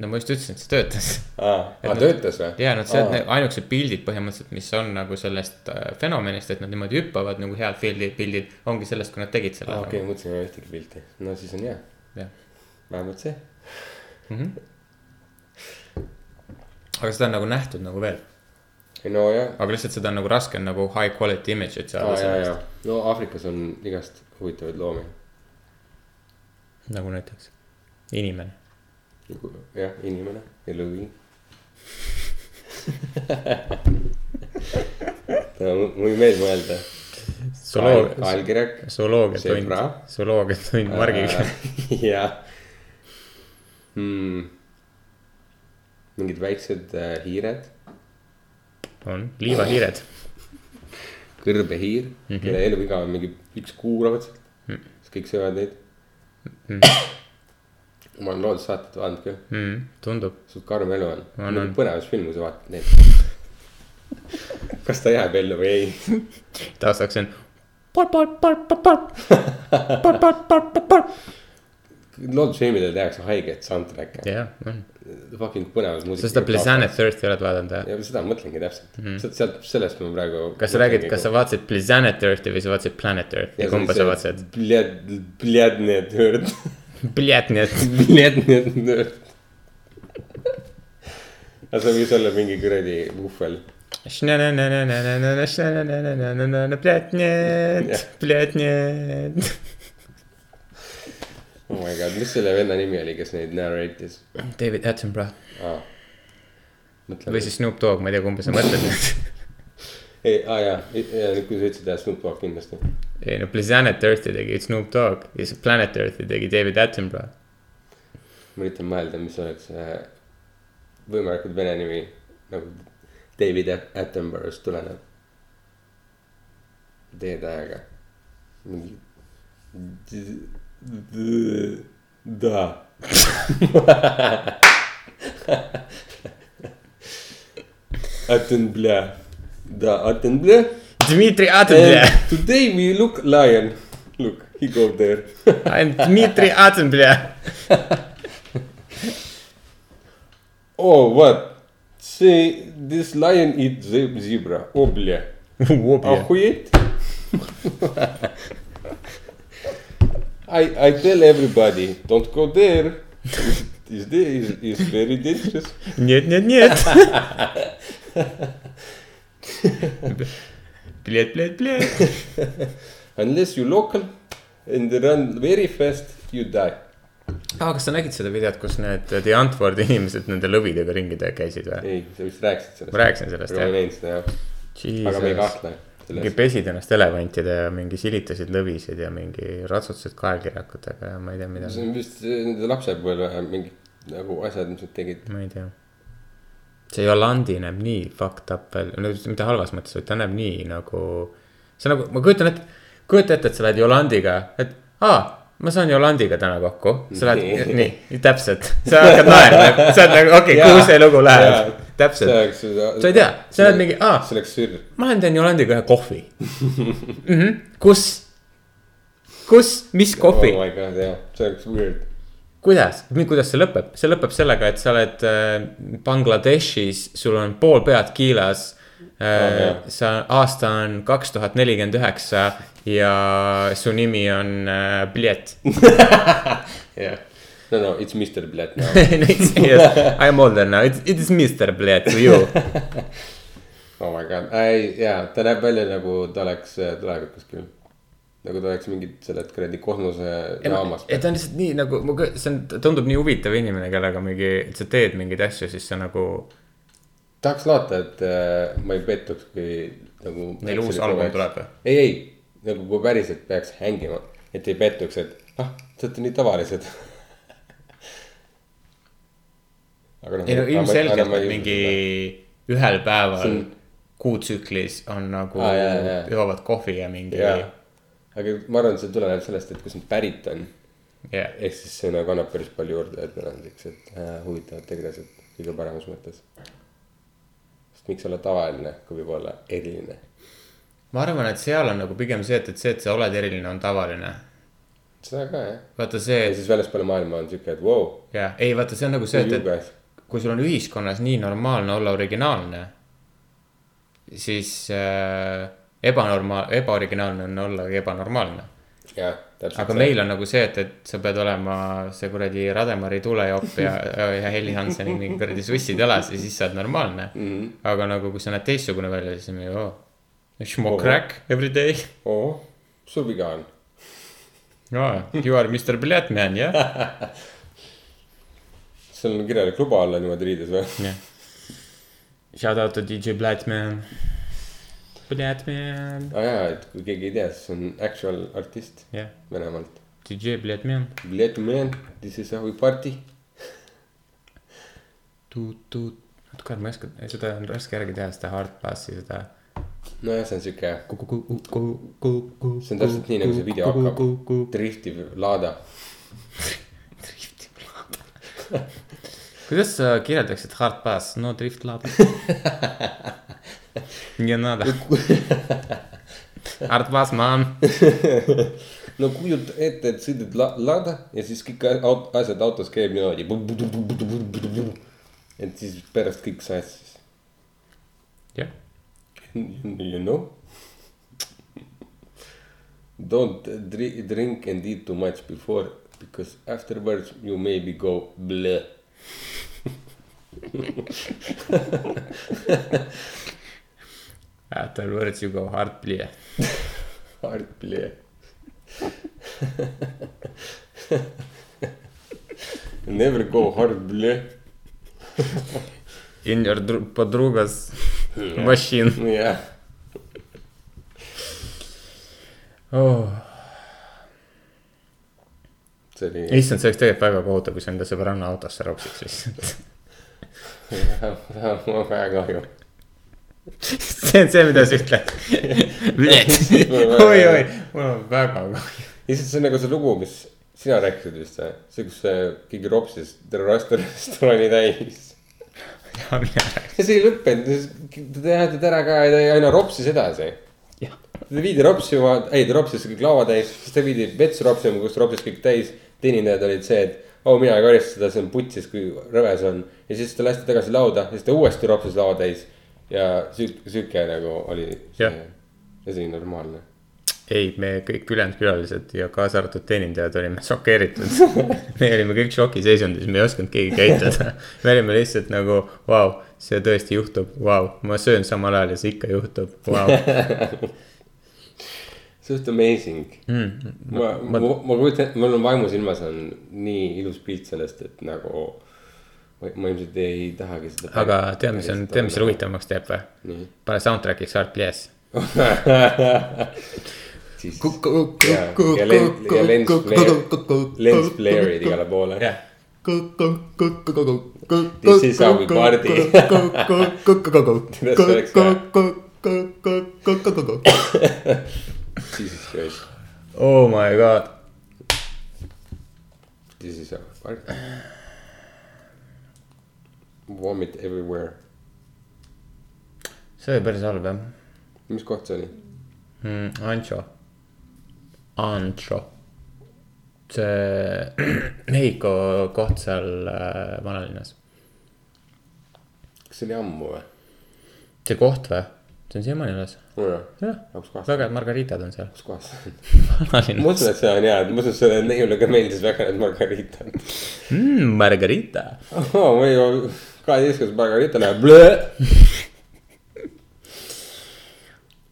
Speaker 8: no ma just ütlesin , et see töötas .
Speaker 7: aa , töötas või ?
Speaker 8: ja nad sealt , ainukesed pildid põhimõtteliselt , mis on nagu sellest äh, fenomenist , et nad niimoodi hüppavad nagu head pildi , pildid , ongi sellest , kui nad tegid selle
Speaker 7: aa , okei , mõtlesin , ei ole ühtegi pilti . no siis on hea ,
Speaker 8: nagu . jah
Speaker 7: vähemalt see .
Speaker 8: aga seda on nagu nähtud nagu veel ,
Speaker 7: ei no jah ,
Speaker 8: aga lihtsalt seda on nagu raske on nagu high quality image'it saada
Speaker 7: aa ja ,
Speaker 8: sellest
Speaker 7: ja , no Aafrikas on igast huvitavaid loomi .
Speaker 8: nagu näiteks inimene .
Speaker 7: jah , inimene ja lõvi . mul ei meeldi mõelda .
Speaker 8: zooloogia ,
Speaker 7: kaelkirjak .
Speaker 8: zooloogiatund
Speaker 7: Zebra. ,
Speaker 8: zooloogiatund margiga .
Speaker 7: jah mm. . mingid väiksed äh, hiired ,
Speaker 8: on liivahiired ,
Speaker 7: kõrbehiir mm ,
Speaker 8: Mhm.
Speaker 7: -hmm. kelle eluiga on mingi üks kuu raudselt mm. . siis kõik söövad neid mm. .
Speaker 8: Mhm.
Speaker 7: ma olen loodussaateid vaadanud küll ,
Speaker 8: Hmm, tundub ,
Speaker 7: suht karm elu on,
Speaker 8: On,
Speaker 7: on.
Speaker 8: on. .
Speaker 7: põnevas film , kui sa vaatad neid . kas ta jääb ellu või ei ,
Speaker 8: taustaks on
Speaker 7: loodusfilmidel tehakse haiget soundtrack'e ,
Speaker 8: jah , on ,
Speaker 7: fucking põnevas
Speaker 8: sa
Speaker 7: muusikas .
Speaker 8: seda Pleasant Earth'i oled vaadanud või ?
Speaker 7: ja seda ma mõtlengi täpselt mm , -hmm. sealt , sellest ma praegu .
Speaker 8: Mhm. kas sa räägid , kas sa vaatasid Pleasant Earth'i või sa vaatasid Planet Earth'i , kumba sa vaatasid ??
Speaker 7: Bled , bledne törd ,
Speaker 8: Bljat , nii et
Speaker 7: bledne törd . aga see võis olla mingi kuradi vuhvel ,
Speaker 8: Блять, нет, блять, нет .
Speaker 7: oh my god , mis selle venna nimi oli , kes neid narrate'is
Speaker 8: David Attenborough
Speaker 7: ah. ?
Speaker 8: või siis Snoop Dogg , ma ei tea , kumba sa mõtled nüüd .
Speaker 7: ei , e, aa jaa , nüüd kui sa ütlesid , et Snoop Dogg kindlasti .
Speaker 8: ei no Planet Earthi tegi Snoop Dogg ja siis Planet Earthi tegi David Attenborough .
Speaker 7: ma üritan mõelda , mis oleks äh, võimalikult vene nimi nagu David At- Attenborough'st tuleneb . D-tähega . mingi . da . Attenborough , da Attenborough .
Speaker 8: Dmitri Attenborough ,
Speaker 7: Today we look lion , look he go there .
Speaker 8: I am Dmitri Attenborough .
Speaker 7: Oh what , see this lion eat ze- zebra , oh bля Охуеть. I, I tell everybody, don't go there. Is there is, is very dangerous.
Speaker 8: нет , нет , нет . Блять , блять , блять .
Speaker 7: Unless you local and run very fast, you die.
Speaker 8: aa , Ah, kas sa nägid seda videot , kus need The Antwoordi inimesed nende lõvidega ringi te- käisid või ?
Speaker 7: ei , sa vist rääkisid sellest .
Speaker 8: Ma rääkisin sellest,
Speaker 7: jah .
Speaker 8: jah.
Speaker 7: ma nägin seda jah , aga ma ei kahtle
Speaker 8: mingi
Speaker 7: selles .
Speaker 8: pesid ennast elevantide ja mingi silitasid lõvisid ja mingi ratsutasid kaelkirjakutega ja ma ei tea , mida .
Speaker 7: see on vist eh, nende lapsepõlve mingid nagu asjad , mis nad tegid .
Speaker 8: ma ei tea . see Yolandi näeb nii fucked up välja , no mitte halvas mõttes , vaid ta näeb nii nagu , see nagu , ma kujutan ette , kujuta ette , et sa lähed Yolandiga , et aa , ma saan Yolandiga täna kokku . sa lähed ,
Speaker 7: Nii.
Speaker 8: nii , täpselt , sa hakkad naerma , sa oled nagu okei okay, , kuhu see lugu läheb , täpselt . sa ei tea , sa oled mingi , aa ,
Speaker 7: see oleks sürr .
Speaker 8: ma lähen teen Yolandiga ühe kohvi mm . -hmm. kus , kus , mis kohvi
Speaker 7: oh ? my god , jah , see oleks weird .
Speaker 8: kuidas , kuidas see lõpeb , see lõpeb sellega , et sa oled äh, Bangladeshis , sul on pool pead kiilas
Speaker 7: jah.
Speaker 8: äh, . sa , aasta on kaks tuhat nelikümmend üheksa ja su nimi on äh, Bliet .
Speaker 7: jah . no no , it's Mr Blatt now .
Speaker 8: I am older now , it it is Mr Bliet to you .
Speaker 7: oh my god , ei jaa , ta näeb välja nagu ta oleks äh, tulevikus küll . nagu ta oleks mingid selle kuradi kosmosejaamas .
Speaker 8: et ta on lihtsalt nii nagu , see on , tundub nii huvitav inimene , kellega mingi , sa teed mingeid asju , siis sa nagu .
Speaker 7: tahaks loota , et äh, ma ei pettuks , kui nagu .
Speaker 8: Neil uus album tuleb või? ?
Speaker 7: ei , ei , nagu kui päriselt peaks hängima , et ei pettuks , et ah , te olete nii tavalised . aga noh,
Speaker 8: ei no
Speaker 7: aga ma-
Speaker 8: ilmselgelt
Speaker 7: aga ma
Speaker 8: et
Speaker 7: ei-
Speaker 8: mingi ühel päeval kuutsüklis on nagu
Speaker 7: Aa, jaa, jaa.
Speaker 8: joovad kohvi ja mingi
Speaker 7: jaa , aga ma arvan , see tuleneb sellest , et kust nad pärit on
Speaker 8: jah .
Speaker 7: ehk siis see nagu annab päris palju juurde , et nad on siuksed äh, huvitavad tegelased kõige paremas mõttes . sest miks olla tavaline , kui võib olla eriline .
Speaker 8: ma arvan , et seal on nagu pigem see , et , et see , et sa oled eriline , on tavaline .
Speaker 7: seda ka jah .
Speaker 8: vaata see
Speaker 7: ja , siis väljaspool maailma on siuke , et vau wow, ,
Speaker 8: jah , ei vaata , see on nagu see ,
Speaker 7: see on
Speaker 8: et ,
Speaker 7: jube .
Speaker 8: et kui sul on ühiskonnas nii normaalne olla originaalne , siis äh, ebanormaal- , ebaoriginaalne on olla ebanormaalne .
Speaker 7: jah , täpselt .
Speaker 8: aga meil on nagu see , et , et sa pead olema see kuradi Rademari tulejopp ja , ja Heli Hanseni mingi kuradi sussid jalas ja siis sa oled normaalne mm . -hmm. aga nagu , kui sa näed teistsugune välja , siis on ju oh, , smoke crack every day
Speaker 7: oo , sul viga on .
Speaker 8: oh, . You are Mr Blatman , jah .
Speaker 7: sul on kirjalik luba olla niimoodi riides või ?
Speaker 8: Shout out to DJ Blatman . Blatman ,
Speaker 7: aa Ah jaa , et kui keegi ei tea , siis on actual artist
Speaker 8: jah yeah. ,
Speaker 7: Venemaalt .
Speaker 8: DJ Blatman .
Speaker 7: Let me in , this is how we party .
Speaker 8: tuut-tuut , oota , kurat , ma ei oska , seda on raske järgi teha , seda hard bassi , seda .
Speaker 7: nojah , see on siuke , see
Speaker 8: see
Speaker 7: on täpselt nii nagu see video hakkab . driftiv laada .
Speaker 8: kuidas sa kirjeldaksid hard pass , no drift lab ? nii on nada . Hard pass man ,
Speaker 7: no kujuta ette , et sõidad la- , lada ja siis kõik a- aut- asjad autos käib niimoodi . et siis pärast kõik sassis .
Speaker 8: jah .
Speaker 7: You know ? Don't dri- drink and eat too much before because afterwards you maybe go bleh .
Speaker 8: After Ah, words you go hard play .
Speaker 7: Hard play . Never go hard play .
Speaker 8: In your dru- podrugas machine .
Speaker 7: jah ,
Speaker 8: oh. .
Speaker 7: see oli ,
Speaker 8: issand , see oleks tegelikult väga kohutav , kui sa enda sõbranna autosse ropsiks lihtsalt .
Speaker 7: mul on väga kahju .
Speaker 8: see on see , mida sa ütled . oi , oi , mul on väga kahju .
Speaker 7: lihtsalt see on nagu see lugu , mis sina rääkisid vist või ? see , kus äh, keegi ropsis terve rest- restorani täis .
Speaker 8: ja mina räägin .
Speaker 7: ja see ei lõppenud , ta teadis ära ka ja ta aina ropsis edasi . ta viidi ropsima , ei ta ropsis kõik laua täis , siis ta viidi vetsu ropsima , kus ropsis kõik täis . teenindajad olid see , et oo oh, mina ei karista seda , see on putsis , kui rõves on . ja siis ta lasti tagasi lauda , siis ta uuesti ropsis laua täis . ja sihuke , sihuke nagu oli see
Speaker 8: Jah. ,
Speaker 7: see oli normaalne .
Speaker 8: ei , me kõik ülejäänud külalised ja kaasa arvatud teenindajad olime šokeeritud . me olime kõik šokiseisundis , me ei osanud keegi käituda . me olime lihtsalt nagu , vau , see tõesti juhtub , vau , ma söön samal ajal ja see ikka juhtub , vau .
Speaker 7: see on just amazing mm, . ma , ma, ma, ma kujutan , mul on vaimusilmas on nii ilus pilt sellest , et nagu ma, ma ilmselt ei tahagi seda .
Speaker 8: aga tead , mis on , tead , mis selle . huvitavamaks teeb või
Speaker 7: Nii. ?
Speaker 8: pane soundtrack'iks Art Lies .
Speaker 7: siis ja , ja lens , ja lens , lens flare'id igale poole .
Speaker 8: jah ,
Speaker 7: This is how we party. Kuidas oleks
Speaker 2: party .
Speaker 7: Jesus Christ ,
Speaker 8: oh my god ,
Speaker 7: this is how we party . Vomit everywhere ,
Speaker 8: see oli päris halb jah
Speaker 7: mis koht see oli ?
Speaker 8: mm, . Ancho , Ancho , see Mehhiko koht seal äh, vanalinnas ,
Speaker 7: kas see oli ammu või ?
Speaker 8: see koht või , see on siiamaani alles ,
Speaker 7: nojah ,
Speaker 8: jah ,
Speaker 7: kus kohas ,
Speaker 8: väga head margaritad on seal .
Speaker 7: kus kohas see on ? ma
Speaker 8: vanalinnas
Speaker 7: usun , et see on hea , et ma usun , et selle neiule ka meeldis väga need margaritad .
Speaker 8: mm, , margarita ,
Speaker 7: ahhaa , ma ei ole , kaheteistkümnes margarita läheb blöö .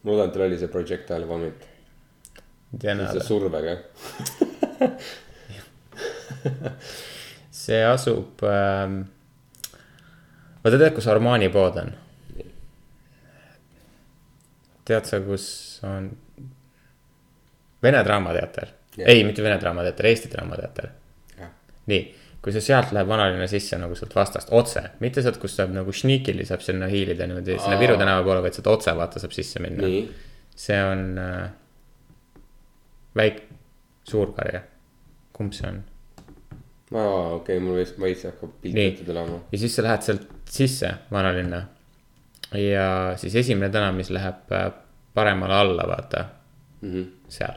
Speaker 7: ma loodan , et tal oli see projectile vomit , see
Speaker 8: see,
Speaker 7: survega
Speaker 8: see asub ähm, , vaata tead , kus Armani pood on ? tead sa , kus on Vene Draamateater
Speaker 7: Jah.
Speaker 8: yeah. , ei , mitte Vene Draamateater , Eesti Draamateater
Speaker 7: Jah.
Speaker 8: nii , kui sa sealt lähed vanalinna sisse nagu sealt vastast otse , mitte sealt , kus saab nagu šnikili saab sinna hiilida niimoodi sinna Viru tänava poole , vaid sealt otse vaata saab sisse minna .
Speaker 7: Nii.
Speaker 8: see on äh, väike , suurkarja , kumb see on ?
Speaker 7: aa , okei okay, , mul vist veits hakkab pilt
Speaker 8: Nii.
Speaker 7: ette tulema .
Speaker 8: ja siis sa lähed sealt sisse , vanalinna . ja siis esimene tänav , mis läheb äh, paremale alla , vaata mm ,
Speaker 7: Mhm.
Speaker 8: seal .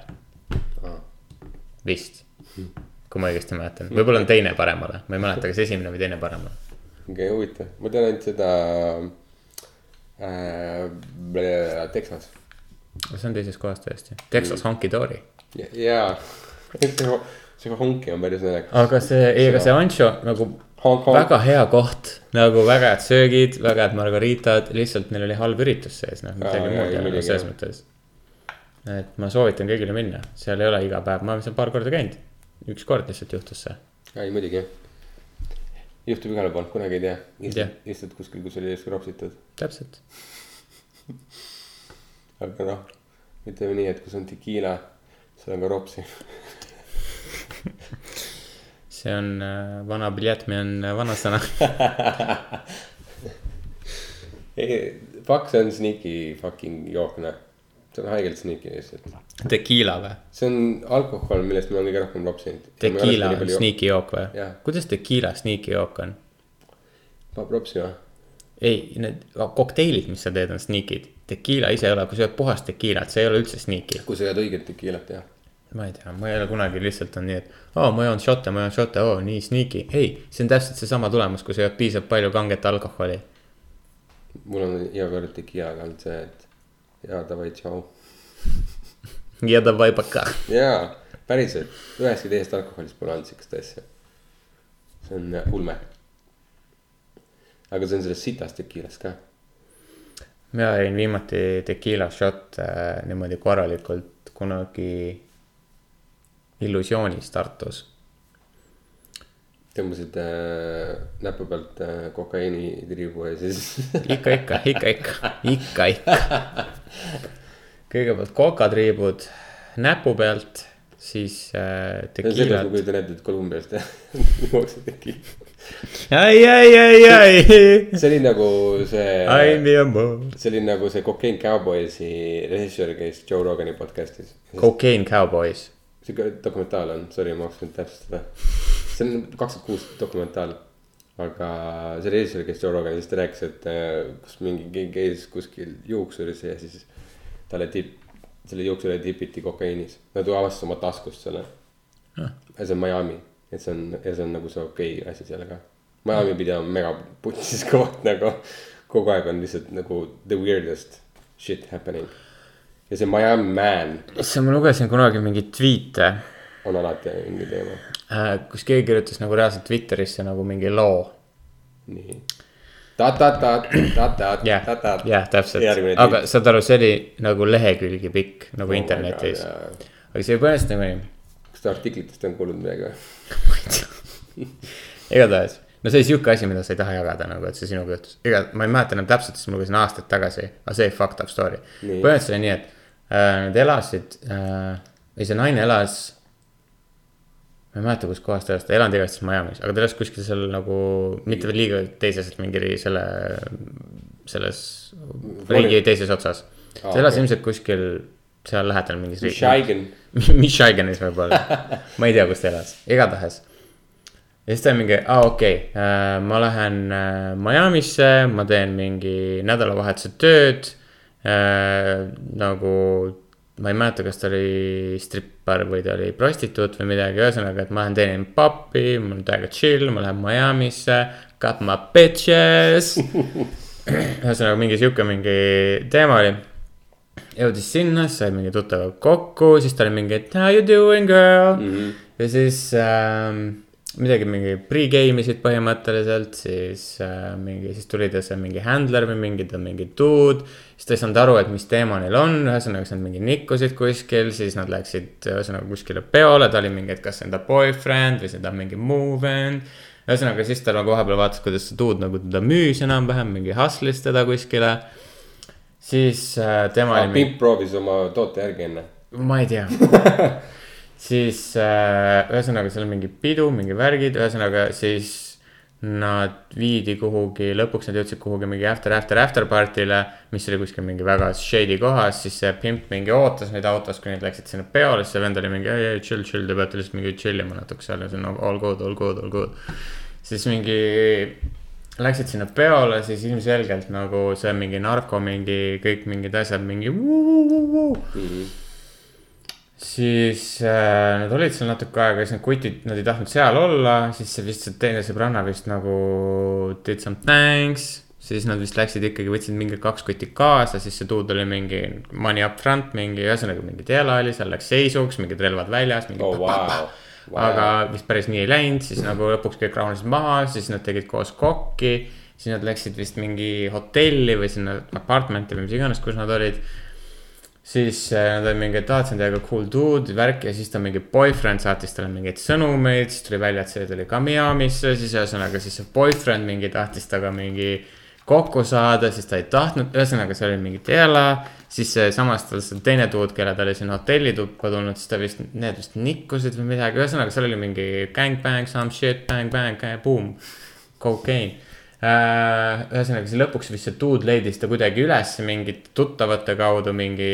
Speaker 8: vist , kui ma õigesti mäletan , võib-olla on teine paremale , ma ei mäleta , kas esimene või teine paremale .
Speaker 7: okei okay, , huvitav , ma tean ainult seda äh, . Texas
Speaker 8: see on teises kohas tõesti , Texas Honky Dory .
Speaker 7: ja, ja. see , see honki on päris naljakas .
Speaker 8: aga see , ei , aga see Ancho nagu
Speaker 7: Honk, honk.
Speaker 8: väga hea koht , nagu väga head söögid , väga head margaritad , lihtsalt neil oli halb üritus sees , noh ,
Speaker 7: Aa,
Speaker 8: midagi
Speaker 7: jaa,
Speaker 8: muud
Speaker 7: ei,
Speaker 8: ei olnud
Speaker 7: muidugi,
Speaker 8: selles
Speaker 7: jah.
Speaker 8: mõttes . et ma soovitan kõigile minna , seal ei ole iga päev , ma olen seal paar korda käinud , üks kord lihtsalt juhtus see .
Speaker 7: ei muidugi jah . juhtub igale pool , kunagi ei tea .
Speaker 8: Jah.
Speaker 7: istud , istud kuskil , kus oli just ropsitud ,
Speaker 8: täpselt ,
Speaker 7: aga noh , ütleme nii , et kus on tekiila , seal on ka ropsi .
Speaker 8: see on äh, vana piletmi on äh, vanasõna .
Speaker 7: Fuck , see on sneaky fucking jook , noh . see on haigelt sneaky lihtsalt .
Speaker 8: Tekiila või ?
Speaker 7: see on alkohol , millest ma olen kõige rohkem lopsinud .
Speaker 8: Tekiila on . sneaky jook või
Speaker 7: Jah. ?
Speaker 8: kuidas tekiila sneaky jook on ?
Speaker 7: paneb ropsi või ?
Speaker 8: ei , need kokteilid , mis sa teed , on sneak'id . Tekiila ise ei ole , kui sa jood puhast tekiilat , see ei ole üldse sneak'i .
Speaker 7: kui sa jood õiget tekiilat , jah .
Speaker 8: ma ei tea , ma ei ole kunagi lihtsalt on nii , et aa , ma joon šote , ma joon šote , oo , nii sneak'i . ei , see on täpselt seesama tulemus , kui sa jood piisavalt palju kanget alkoholi .
Speaker 7: mul on iga kord tekiilaga olnud see , et jaa , davai , tšau .
Speaker 8: ja davai baka .
Speaker 7: jaa , päriselt , üheski teisest alkoholist pole olnud siukest asja . see on äh, ulme . aga see on sellest sitast tekiilast ka .
Speaker 8: mina jõin viimati tekiila shot äh, niimoodi korralikult kunagi Illusioonis Tartus
Speaker 7: tõmbasid äh, näpu pealt äh, kokaiini triibu ja siis
Speaker 8: ikka , ikka , ikka , ikka , ikka , ikka . kõigepealt kokatriibud näpu pealt , siis äh,
Speaker 7: no selles ma
Speaker 8: tekiilat .
Speaker 7: kujutan ette , et Kolumbiast jooksed tekiila .
Speaker 8: ai , ai , ai , ai ,
Speaker 7: see oli nagu
Speaker 8: I
Speaker 7: see ,
Speaker 8: m your mom .
Speaker 7: see oli nagu see Cocaine Cowboysi režissöör käis Joe Rogani podcast'is .
Speaker 8: Cocaine Cowboys ,
Speaker 7: sihuke dokumentaal on , sorry , ma hakkasin täpsustada . see on kaks tuhat kuus dokumentaal , aga see režissöör , kes Joe Roganis ta rääkis , et äh, kus mingi keegi käis kuskil juuksuris ja siis talle tip- , selle juuksurile tipiti kokaiinis . Nad ju avastasid oma taskust selle . ja see on Miami , et see on ja see on nagu see okei okay asi seal ka . Miami pidi olema mega putsis koht nagu , kogu aeg on lihtsalt nagu the weirdest shit happening . ja see Miami man
Speaker 8: issand , ma lugesin kunagi mingeid tweet'e
Speaker 7: on alati mingi teema ,
Speaker 8: äh, , kus keegi kirjutas nagu reaalselt Twitterisse nagu mingi loo .
Speaker 7: nii . ta-ta-ta , ta-ta-ta ,
Speaker 8: jah ,
Speaker 7: ta-ta .
Speaker 8: jah , täpselt ,
Speaker 7: Järgmine
Speaker 8: aga saad aru , see oli nagu lehekülgi pikk nagu oh internetis ,
Speaker 7: God,
Speaker 8: aga see põhimõtteliselt nagu nii
Speaker 7: kas te artiklitest on kuulnud midagi või ?
Speaker 8: igatahes , no see oli sihuke asi , mida sa ei taha jagada nagu , et see sinuga juhtus , ega ma ei mäleta enam täpselt , sest ma lugesin aastaid tagasi , aga see oli fucked up story .
Speaker 7: Nii.
Speaker 8: põhimõtteliselt oli nii , et äh, nad elasid äh, , või see naine elas . ma ei mäleta , kus kohas ta elas , ta ei elanud igatahes Miami's , aga ta elas kuskil seal nagu mitte veel liiga teises , mingi selle , selles riigi teises otsas . ta
Speaker 7: Aa,
Speaker 8: elas
Speaker 7: okei.
Speaker 8: ilmselt kuskil seal lähedal mingis riigis .
Speaker 7: Shigen ,
Speaker 8: Michiganis võib-olla , ma ei tea , kus ta elas , igatahes . ja siis ta mingi , aa okei okay. , ma lähen äh, Miami'sse , ma teen mingi nädalavahetuse tööd . nagu , ma ei mäleta , kas ta oli strippar või ta oli prostituut või midagi , ühesõnaga , et ma lähen teenin pappi , mul on täiega chill , ma lähen Miami'sse , got my bitches . ühesõnaga mingi sihuke mingi teema oli jõudis sinna , siis sai mingi tuttavaga kokku , siis ta oli mingi , et how you doing girl mm . -hmm. ja siis ähm, midagi mingi pre-game isid põhimõtteliselt , siis äh, mingi , siis tuli ta see mingi handler või mingi ta mingi dude . siis ta ei saanud aru , et mis teema neil on , ühesõnaga siis nad mingi nikkusid kuskil , siis nad läksid ühesõnaga kuskile peole , ta oli mingi , et kas see on ta boyfriend või see on ta mingi move and . ühesõnaga siis ta nagu vahepeal vaatas , kuidas see dude nagu teda müüs enam-vähem , mingi hustle'is teda kuskile siis äh, tema oli mingi-
Speaker 7: Ah, Pimp proovis oma toote järgi enne .
Speaker 8: ma ei tea . siis äh, ühesõnaga seal on mingi pidu , mingi värgid , ühesõnaga siis nad viidi kuhugi , lõpuks nad jõudsid kuhugi mingi after , after , after party'le , mis oli kuskil mingi väga shady kohas , siis see pimp mingi ootas neid autos , kui nad läksid sinna peole , siis see vend oli mingi ei , ei chill , chill , te peate lihtsalt mingi chill ima natuke seal ja see on nagu all good , all good , all good . siis mingi läksid sinna peole , siis ilmselgelt nagu see mingi narko , mingi kõik mingid asjad , mingi vuu-vuu-vuu-vuu mm .
Speaker 7: Mhm.
Speaker 8: -hmm. siis äh, nad olid seal natuke aega , siis need kutid , nad ei tahtnud seal olla , siis see vist see teine sõbranna vist nagu did some thanks . siis nad vist läksid ikkagi , võtsid mingi kaks kotti kaasa , siis see dude oli mingi money up front , mingi ühesõnaga mingi teela oli , seal läks seisuks , mingid relvad väljas , mingi
Speaker 7: oo , vau .
Speaker 8: aga vist päris nii ei läinud , siis nagu lõpuks kõik rahunesid maha , siis nad tegid koos kokki . siis nad läksid vist mingi hotelli või sinna apartmenti või mis iganes , kus nad olid . siis äh, nad olid mingi , et aa , see on täiega cool dude , värk ja siis ta mingi boyfriend saatis talle mingeid sõnumeid , siis tuli välja , et see tuli ka Miami'sse , siis ühesõnaga siis see boyfriend mingi tahtis temaga mingi kokku saada , siis ta ei tahtnud , ühesõnaga seal oli mingi teela , siis see- samas tal see teine dude , kelle ta oli sinna hotellituppa tulnud , siis ta vist , need vist nikkusid või midagi , ühesõnaga seal oli mingi gangbang , some shit , bang , bang , boom , cocaine . Äh, ühesõnaga siis lõpuks vist see dude leidis ta kuidagi üles mingite tuttavate kaudu mingi ,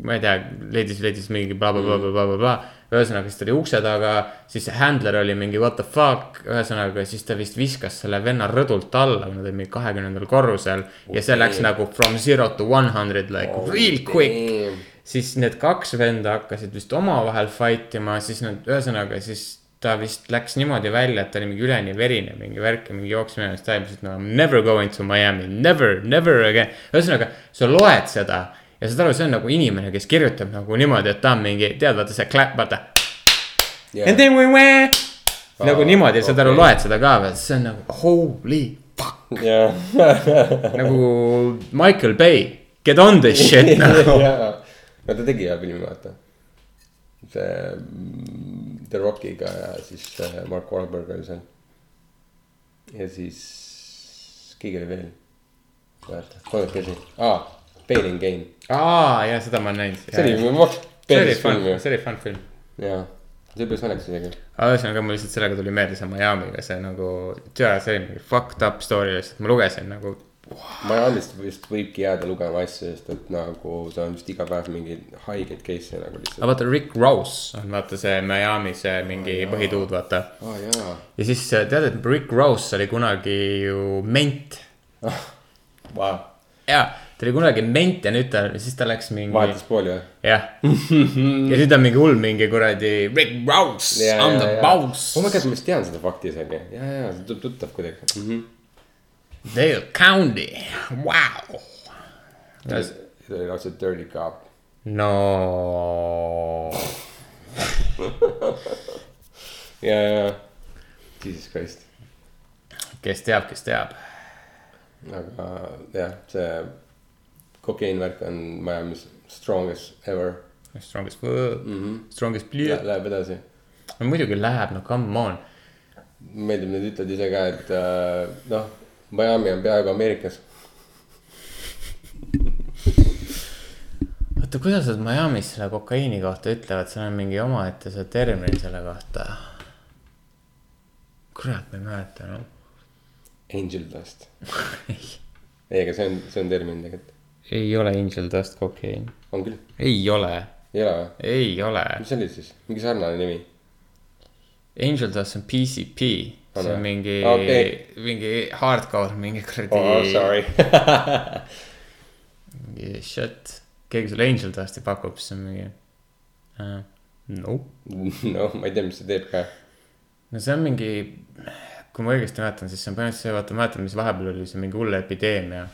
Speaker 8: ma ei tea , leidis , leidis mingi blablabla . ühesõnaga , siis ta oli ukse taga , siis see handler oli mingi what the fuck , ühesõnaga siis ta vist viskas selle venna rõdult alla , kui nad olid mingi kahekümnendal korrusel ja see läks nagu from zero to one hundred like oh, real quick
Speaker 7: damn. .
Speaker 8: siis need kaks venda hakkasid vist omavahel fight ima , siis nad ühesõnaga siis ta vist läks niimoodi välja , et ta oli mingi üleni verine , mingi värk ja mingi jooksis minema , siis ta ütles , et no I m never going to Miami , never , never again . ühesõnaga , sa loed seda ja saad aru , see on nagu inimene , kes kirjutab nagu niimoodi , et ta on mingi , tead , vaata see clap , vaata yeah. . And then we went . nagu niimoodi , saad aru ,
Speaker 7: okei.
Speaker 8: loed seda ka veel , see on nagu holy fuck .
Speaker 7: jah .
Speaker 8: nagu Michael Bay , get on this shit nagu .
Speaker 7: jaa , no ta tegi hea filmi , vaata . see mm, The Rockiga ja siis äh, Mark Wahlberg oli seal . ja siis keegi oli veel . vaata , kolmekesi , aa , Pain and Gain ,
Speaker 8: aa , jaa , seda ma olen näinud .
Speaker 7: see oli ,
Speaker 8: see
Speaker 7: ma vaatasin .
Speaker 8: oli fun , see oli fun film .
Speaker 7: jaa , see oli päris naljakas isegi .
Speaker 8: aga ühesõnaga , mul lihtsalt sellega tuli meelde see Miami'ga see nagu , tea , see oli mingi fucked up story lihtsalt , ma lugesin nagu .
Speaker 7: Miami'st vist võibki jääda lugema asju , sest et nagu seal on vist iga päev mingeid haigeid case'e nagu
Speaker 8: aga
Speaker 7: lihtsalt .
Speaker 8: vaata , Rick Ross on vaata see Miami see mingi põhituud , vaata .
Speaker 7: aa jaa ,
Speaker 8: ja siis äh, tead , et Rick Ross oli kunagi ju ment .
Speaker 7: vau ,
Speaker 8: jaa , ta oli kunagi ment ja nüüd ta , siis ta läks mingi
Speaker 7: vahetas pooli või ?
Speaker 8: jah , ja nüüd on mingi hull mingi kuradi Rick Rouse yeah, , I m the yeah, boss
Speaker 7: oh my
Speaker 8: yeah. .
Speaker 7: god , ma vist tean seda fakti isegi , ja , ja see tundub tuttav kuidagi mm .
Speaker 8: Dale County , vau .
Speaker 7: -hmm. see oli lausa Dirty Cop .
Speaker 8: no ,
Speaker 7: ja , ja , Jesus Christ ,
Speaker 8: kes teab , kes teab .
Speaker 7: aga jah , see kokeinvärk on Miami's strongest ever
Speaker 8: Strongest world mm ,
Speaker 7: Mhm.
Speaker 8: -hmm. strongest
Speaker 7: Lä,
Speaker 8: blue .
Speaker 7: läheb edasi .
Speaker 8: no muidugi läheb , no come on .
Speaker 7: meeldib , need ütlevad ise ka , et äh, noh , Miami on peaaegu Ameerikas .
Speaker 8: oota , kuidas nad Miami's selle kokaiini kohta ütlevad , seal on mingi omaette see termin selle kohta . kurat , ma ei mäleta enam no. .
Speaker 7: Angel dust . ei , aga see on , see on termin tegelikult .
Speaker 8: ei ole Angel Dust kokaiin .
Speaker 7: on küll ,
Speaker 8: ei ole ,
Speaker 7: ei ole või ?
Speaker 8: ei ole
Speaker 7: mis see oli siis , mingi sarnane nimi ?
Speaker 8: Angel Dust on PCP ,
Speaker 7: On
Speaker 8: see on
Speaker 7: või?
Speaker 8: mingi
Speaker 7: Okei.
Speaker 8: okay. , mingi hardcore , mingi kuradi
Speaker 7: oh , sorry .
Speaker 8: mingi shit . keegi sulle Angel Dusti pakub , siis on mingi uh, . no ,
Speaker 7: no ma ei tea , mis see teeb ka
Speaker 8: no see on mingi , kui ma õigesti mäletan , siis see on põhimõtteliselt see , vaata , mäletad , mis vahepeal oli see mingi hull epideemia .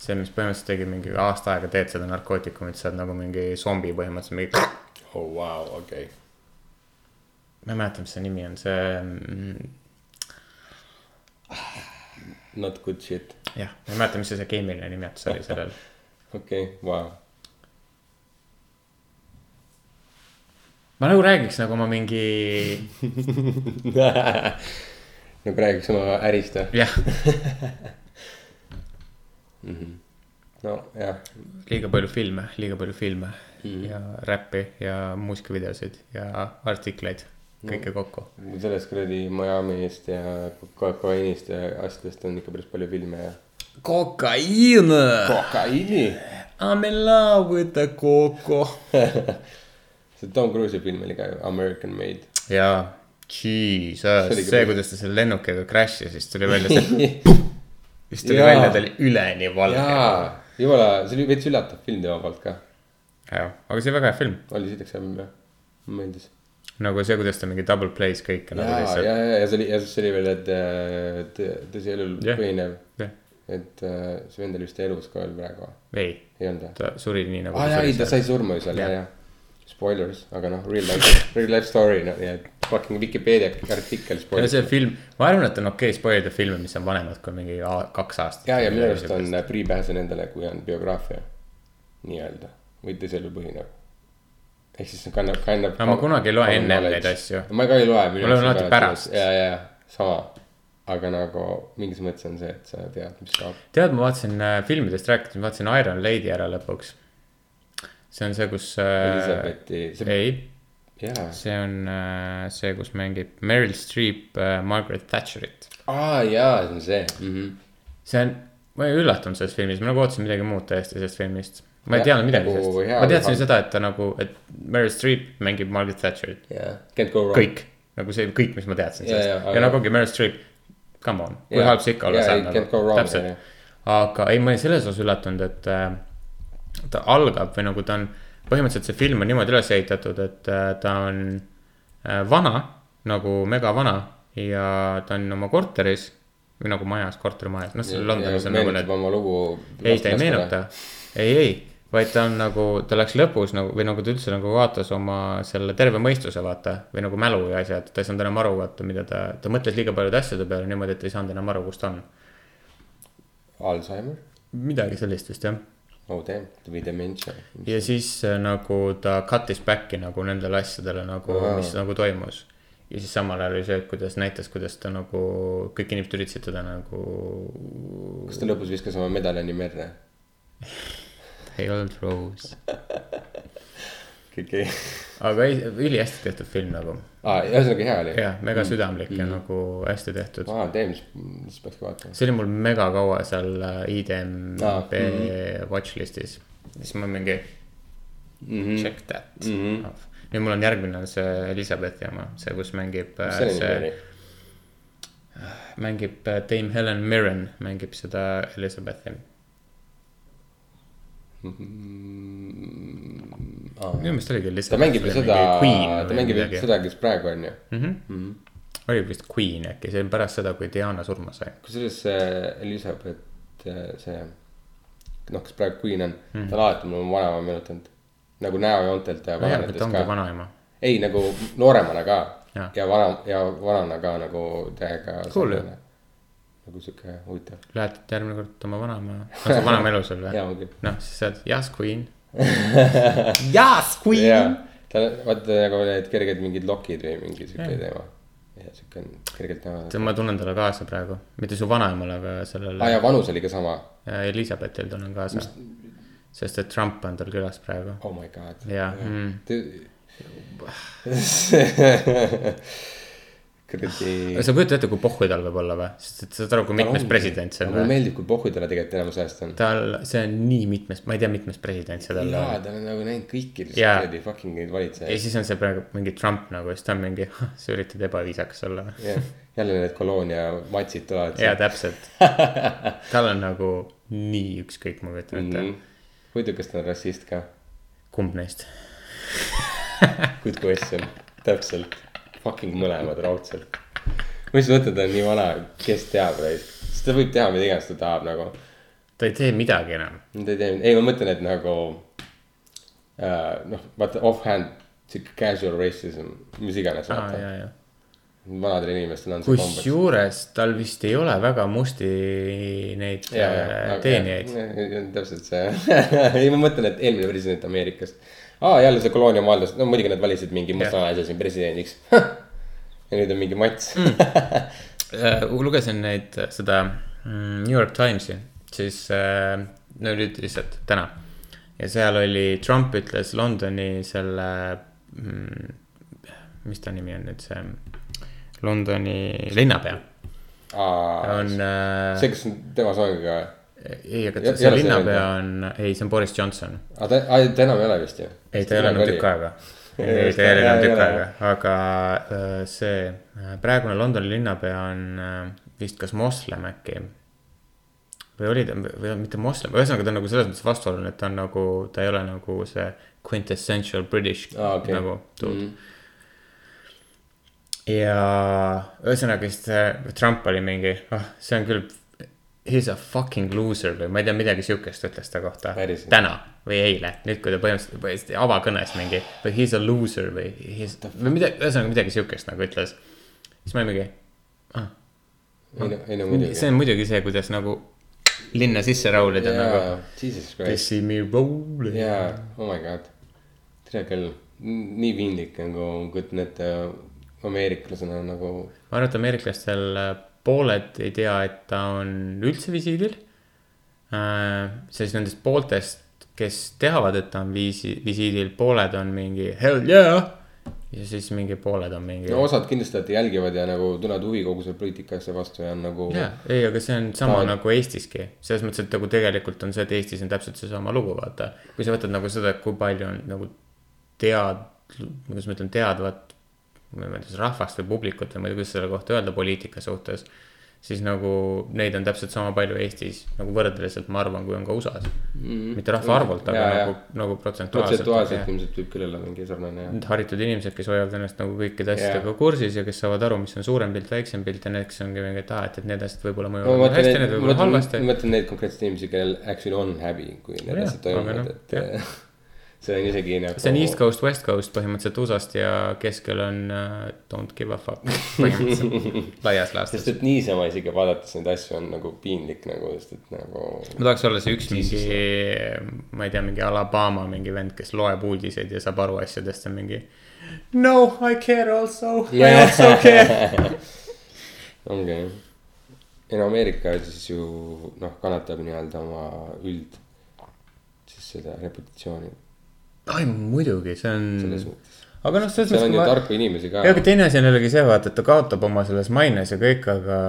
Speaker 8: see , mis põhimõtteliselt tegi mingi aasta aega teed seda narkootikumit , sa oled nagu mingi zombi põhimõtteliselt , mingi .
Speaker 7: oh vau wow, , okei okay. .
Speaker 8: ma ei mäleta , mis see nimi on , see mm,
Speaker 7: Not good shit ,
Speaker 8: jah , ma ei mäleta , mis see, see keemiline nimetus oli sellel .
Speaker 7: okei okay, , vau .
Speaker 8: ma nagu räägiks nagu ma mingi
Speaker 7: nagu räägiks oma ärist või ?
Speaker 8: jah ,
Speaker 7: nojah ,
Speaker 8: liiga palju filme , liiga palju filme mm. ja räppi ja muusikavideosid ja artikleid , kõike kokku .
Speaker 7: sellest kuradi Miami'st ja kokaiinist ja asjadest on ikka päris palju filme ja .
Speaker 8: kokaiin ,
Speaker 7: kokaiini ?
Speaker 8: I m in love with the coco .
Speaker 7: see Tom Cruise'i film oli ka ju American Made .
Speaker 8: ja jesus ,
Speaker 7: See oli
Speaker 8: see ,
Speaker 7: küll-
Speaker 8: kuidas ta selle lennukiga crash'is , siis tuli välja see , siis tuli
Speaker 7: Jaa.
Speaker 8: välja , ta oli üleni valge .
Speaker 7: jaa , jumala , see oli veits üllatav film tema poolt ka .
Speaker 8: jah , aga see väga hea film ,
Speaker 7: oli siitaks hea film jah , mulle meeldis .
Speaker 8: nagu see , kuidas ta mingi double plays kõike
Speaker 7: ja ,
Speaker 8: nagu
Speaker 7: ja ,
Speaker 8: lihtsalt .
Speaker 7: ja , ja see oli , ja siis see oli veel , et äh, tõ- tõsielul
Speaker 8: Jah.
Speaker 7: põhinev ,
Speaker 8: jah ,
Speaker 7: et äh, see vend oli vist elus ka veel praegu ,
Speaker 8: ei ,
Speaker 7: ei olnud või ?
Speaker 8: ta suri nii nagu .
Speaker 7: aa jaa , ei ta sai surma ju seal
Speaker 8: Jah.
Speaker 7: jah , jah . Spoilers , aga noh , real life , real life story , noh , ja fucking Vikipeedia artikkel
Speaker 8: ja see
Speaker 7: spoilers .
Speaker 8: film , ma arvan , et on okei okay spoilida filme , mis on vanemad kui mingi a- kaks aastat .
Speaker 7: ja , ja minu arust on . prii pääse nendele , kui on biograafia nii-öelda või tõsielu põhinev . ehk siis see kannab , kannab .
Speaker 8: No ma kunagi ei loe enne neid asju.
Speaker 7: ma ka ei loe .
Speaker 8: Ma loen alati pärast.
Speaker 7: ja , ja , ja sama , aga nagu mingis mõttes on see , et sa tead , mis saab .
Speaker 8: tead , ma vaatasin äh, filmidest rääkides , ma vaatasin Iron Lady ära lõpuks . see on see , kus äh, .
Speaker 7: Elizabethi , see ,
Speaker 8: ei ,
Speaker 7: jaa .
Speaker 8: see on äh, see , kus mängib Meryl Streep äh, Margaret Thatcherit .
Speaker 7: aa jaa , see on see mm . -hmm.
Speaker 8: see on , ma ei üllatunud selles filmis , ma nagu ootasin midagi muud täiesti sellest filmist . ma ei
Speaker 7: Ja,
Speaker 8: teadnud midagi
Speaker 7: nagu
Speaker 8: sellest ,
Speaker 7: hea
Speaker 8: ma teadsin
Speaker 7: või halb.
Speaker 8: seda , et ta nagu , et Meryl Streep mängib Margaret Thatcherit .
Speaker 7: jaa , can't go wrong .
Speaker 8: kõik , nagu see kõik , mis ma teadsin
Speaker 7: Jaa,
Speaker 8: sellest
Speaker 7: jaa,
Speaker 8: ja,
Speaker 7: aga-
Speaker 8: ja nagu ongi Meryl Streep , come on , kui
Speaker 7: Jaa.
Speaker 8: halb see ikka olla
Speaker 7: Jaa,
Speaker 8: saab
Speaker 7: ei, can't go
Speaker 8: nagu ,
Speaker 7: wrong, jaa,
Speaker 8: täpselt . aga ei , ma olin selles osas üllatunud , et äh, ta algab või nagu ta on , põhimõtteliselt see film on niimoodi üles ehitatud , et äh, ta on äh, vana , nagu megavana ja ta on oma korteris või nagu majas , kortermajas , noh , seal Londonis on nagu need
Speaker 7: meenutab oma lugu .
Speaker 8: ei , ta ei meenuta , ei , ei , vaid ta on nagu , ta läks lõpus nagu või nagu ta üldse nagu vaatas oma selle terve mõistuse vaata või nagu mälu ja asjad , ta ei saanud enam aru vaata , mida ta , ta mõtles liiga paljude asjade peale niimoodi , et ei saanud enam aru , kus ta on .
Speaker 7: Alžeimer ,
Speaker 8: midagi sellist vist jah
Speaker 7: oh damn , või dementia .
Speaker 8: ja siis äh, nagu ta cut'is back'i nagu nendele asjadele nagu wow. , mis nagu toimus . ja siis samal ajal oli see , et kuidas näitas , kuidas ta nagu , kõik inimesed üritasid teda nagu ,
Speaker 7: kas ta lõpus viskas oma medalini merre ?
Speaker 8: ei olnud Rose .
Speaker 7: kõik ei ,
Speaker 8: aga ei , ülihästi tehtud film nagu ,
Speaker 7: aa , ühesõnaga hea oli .
Speaker 8: jah , mega
Speaker 7: Mm.
Speaker 8: südamlik ja nagu hästi tehtud .
Speaker 7: aa , damn , siis peaks ka vaatama .
Speaker 8: see oli mul mega kaua seal äh, IDMB ah, mm
Speaker 7: mm-hmm.
Speaker 8: -hmm. watchlist'is , siis ma mingi mm
Speaker 7: Mm-hmm.
Speaker 8: -hmm. check that mm . -hmm. nüüd mul on järgmine on see Elizabethi oma , see , kus mängib äh,
Speaker 7: see oli
Speaker 8: see
Speaker 7: nii ,
Speaker 8: mängib äh, Dame Helen Mirren mängib seda Elizabethi .
Speaker 7: Mm-hmm.
Speaker 8: minu meelest oligi Elizabeth .
Speaker 7: ta mängib ju seda , ta mängib ju seda , kes praegu on ju .
Speaker 8: oli vist Queen äkki , see on pärast seda , kui Diana surma sai .
Speaker 7: kusjuures see Elizabeth , see , noh , kes praegu Queen on mm , -hmm. ta on alati mulle oma vanaema meenutanud . nagu näojoontelt ja
Speaker 8: ta
Speaker 7: vananetes
Speaker 8: ongi
Speaker 7: ka .
Speaker 8: vanaema .
Speaker 7: ei , nagu nooremana ka ja,
Speaker 8: Jaa.
Speaker 7: ja vana , ja vanana ka nagu täiega .
Speaker 8: Cool, ju.
Speaker 7: nagu sihuke huvitav .
Speaker 8: Lähed järgmine kord oma vanaema , on su vanaema elus veel
Speaker 7: Jaa, on küll.
Speaker 8: või ? noh , siis saad Yes Queen . Yes
Speaker 7: ja
Speaker 8: Queen .,
Speaker 7: ta , vaata nagu need kerged mingid lokid või mingi sihuke teema . ja sihuke on kergelt näha .
Speaker 8: ma tunnen talle kaasa praegu , mitte su vanaemale , aga
Speaker 7: aa
Speaker 8: sellele
Speaker 7: ja vanus oli ka sama .
Speaker 8: äh, Elizabethil tunnen kaasa . sest et Trump on tal külas praegu .
Speaker 7: oh my god .
Speaker 8: jaa ,
Speaker 7: kuradi .
Speaker 8: sa kujutad ette , kui pohhu tal võib olla või ? sest et saad aru , kui mitmes president see on
Speaker 7: mulle
Speaker 8: või ?
Speaker 7: meeldib , kui pohhu talle tegelikult enamus ajast on .
Speaker 8: tal , see on nii mitmes , ma ei tea , mitmes president see tal
Speaker 7: jaa ,
Speaker 8: on .
Speaker 7: ta on nagu näinud
Speaker 8: Jaa.
Speaker 7: kõiki lihtsalt kuradi fucking neid
Speaker 8: ja
Speaker 7: valitsejaid .
Speaker 8: siis on see praegu mingi Trump nagu , siis ta on mingi , sa üritad ebaviisakas olla .
Speaker 7: jälle need koloonia matsid tulevad .
Speaker 8: jaa , täpselt . tal on nagu nii ükskõik , ma kujutan ette
Speaker 7: Mhm.
Speaker 8: mm .
Speaker 7: muidu , kas ta on rassist ka ?
Speaker 8: -hmm. kumb neist ?
Speaker 7: Good question , täpselt , fucking mõlemad raudselt . ma lihtsalt mõtlen , ta on nii vana , kes teab , sest ta võib teha mida iganes ta tahab nagu .
Speaker 8: ta ei tee midagi enam .
Speaker 7: ta ei tee , ei ma mõtlen , et nagu äh, noh , vaata off-hand sihuke casual racism , mis iganes
Speaker 8: aa ,
Speaker 7: vaata
Speaker 8: Ah, jaa , jaa .
Speaker 7: vanadel inimestel on see kombeks .
Speaker 8: kusjuures tal vist ei ole väga musti neid
Speaker 7: Jaa,
Speaker 8: äh,
Speaker 7: jaa, aga-
Speaker 8: teenijaid .
Speaker 7: jaa, jaa, jaa, täpselt see , ei ma mõtlen , et eelmine president Ameerikast . aa , jälle see kolooniamaaldus , no muidugi nad valisid mingi musta naise siin presidendiks . ja nüüd on mingi mats mm. .
Speaker 8: Äh, lugesin neid , seda mm, New York Timesi , siis äh, no nüüd lihtsalt täna . ja seal oli , Trump ütles Londoni selle mm, , mis ta nimi on nüüd see , Londoni linnapea
Speaker 7: aa ,
Speaker 8: on äh, ,
Speaker 7: see , kes on tema sooviga või ?
Speaker 8: ei , aga
Speaker 7: ei
Speaker 8: ta-
Speaker 7: ole
Speaker 8: see
Speaker 7: see
Speaker 8: linnapea
Speaker 7: linnapea?
Speaker 8: on , ei , see on Boris Johnson .
Speaker 7: aa , ta , aa ta enam ei ole vist ju .
Speaker 8: ei , ta ei ole enam tükk . aega . ei , ta ei ole enam tükk aega , aga äh, see äh, praegune Londoni linnapea on äh, vist kas moslem äkki . või oli ta , või mitte moslem , ühesõnaga ta on nagu selles mõttes vastuoluline , et ta on nagu , ta ei ole nagu see quintessential British
Speaker 7: Aa, okei.
Speaker 8: nagu dude mm . -hmm. ja ühesõnaga siis see Trump oli mingi , ah , see on küll . He is a fucking loser või ma ei tea , midagi siukest ütles ta kohta
Speaker 7: Päriselt?
Speaker 8: täna või eile , nüüd kui ta põhimõtteliselt , põhimõtteliselt avakõnes mingi . But he is a loser või he is , või midagi , ühesõnaga midagi siukest nagu ütles . siis ma olin mingi ,
Speaker 7: ei no , ei no
Speaker 8: see
Speaker 7: muidugi .
Speaker 8: on muidugi see , kuidas nagu linna sisse raulida yeah. nagu .
Speaker 7: jaa , jesus christ ,
Speaker 8: Pissi me roll .
Speaker 7: jaa , oh my god . tere küll , nii piinlik nagu kujutan ette ameeriklasena nagu
Speaker 8: ma arvan , et ameeriklastel äh, pooled ei tea , et ta on üldse visiidil . siis nendest pooltest , kes teavad , et ta on viisi- , visiidil , pooled on mingi hell yeah . ja siis mingi pooled on mingi
Speaker 7: no . osad kindlasti alati jälgivad ja nagu tunnevad huvi kogu selle poliitika asja vastu ja on nagu
Speaker 8: jaa , ei , aga see on sama
Speaker 7: Ta-
Speaker 8: ta... nagu Eestiski , selles mõttes , et nagu tegelikult on see , et Eestis on täpselt seesama lugu , vaata . kui sa võtad nagu seda , kui palju on nagu tead , kuidas ma ütlen , teadvat , ma ei mäleta , kas rahvast või publikut või ma ei tea , kuidas selle kohta öelda poliitika suhtes . siis nagu neid on täpselt sama palju Eestis nagu võrdeliselt , ma arvan , kui on ka USA-s mm . -hmm. mitte rahvaarvult , aga
Speaker 7: Mhm. Jaa,
Speaker 8: ja,
Speaker 7: jaa.
Speaker 8: nagu , nagu protsentuaalselt .
Speaker 7: protsentuaalselt ilmselt võib küll olla mingi sarnane jah
Speaker 8: need haritud inimesed , kes hoiavad ennast nagu kõikide
Speaker 7: Jaa.
Speaker 8: asjadega kursis ja kes saavad aru , mis on suurem pilt , väiksem pilt ja need , kes ongi mingi , et aa , et , et need asjad võib-olla
Speaker 7: ma
Speaker 8: mõjuvad nagu
Speaker 7: mõtlen
Speaker 8: hästi ,
Speaker 7: neid ,
Speaker 8: need
Speaker 7: ma
Speaker 8: võib-olla
Speaker 7: mõtlen ,
Speaker 8: halvasti
Speaker 7: ma . mõtlen neid konkreetseid inimesi , kellel actually on häbi , kui need
Speaker 8: Jah,
Speaker 7: asjad
Speaker 8: aga
Speaker 7: toimuvad ,
Speaker 8: noh,
Speaker 7: et . see on isegi nagu .
Speaker 8: see on East Coast , West Coast põhimõtteliselt USA-st ja keskel on uh, Don't give a fuck põhimõtteliselt laias laastus
Speaker 7: sest . et niisama isegi vaadates neid asju on nagu piinlik nagu , sest et nagu .
Speaker 8: ma tahaks olla see üks mingi , ma ei tea , mingi Alabama mingi vend , kes loeb uudiseid ja saab aru asjadest ja mingi . No I care also , I also care .
Speaker 7: ongi jah . ei no Ameerika siis ju noh , kannatab nii-öelda oma üld , siis seda reputatsiooni
Speaker 8: ai muidugi , see
Speaker 7: selles
Speaker 8: on ,
Speaker 7: mõttes .
Speaker 8: aga noh , selles
Speaker 7: seal
Speaker 8: mõttes
Speaker 7: on ju
Speaker 8: ma-
Speaker 7: tarku inimesi ka
Speaker 8: ja , aga . teine asi on jällegi see , vaata , et ta kaotab oma selles maines ja kõik , aga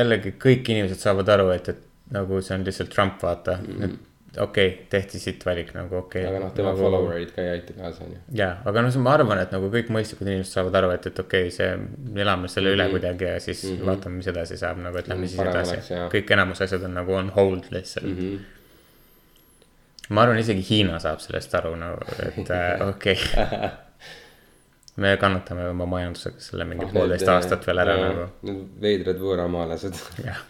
Speaker 8: jällegi kõik inimesed saavad aru , et , et nagu see on lihtsalt Trump , vaata mm . -hmm. et okei okay, , tehti siit valik nagu okei okay, .
Speaker 7: aga noh , tema
Speaker 8: nagu, .
Speaker 7: follower'id ka ei aita kaasa onju .
Speaker 8: jaa , aga noh , ma arvan , et nagu kõik mõistlikud inimesed saavad aru , et , et okei okay, , see , elame selle üle mm -hmm. kuidagi ja siis mm -hmm. vaatame , mis edasi saab nagu , et lähme
Speaker 7: Mm,
Speaker 8: siis
Speaker 7: Mhm. parem
Speaker 8: edasi
Speaker 7: oleks, jaa. . Mhm.
Speaker 8: kõik enamus asjad on nagu on hold lihtsalt mm . -hmm. ma arvan , isegi Hiina saab sellest aru nagu , et äh, okei okay. . me kannatame oma majandusega selle
Speaker 7: Ah,
Speaker 8: mingi poolteist aastat veel ära nagu ,
Speaker 7: Need veidrad võõramaalased ,
Speaker 8: jah .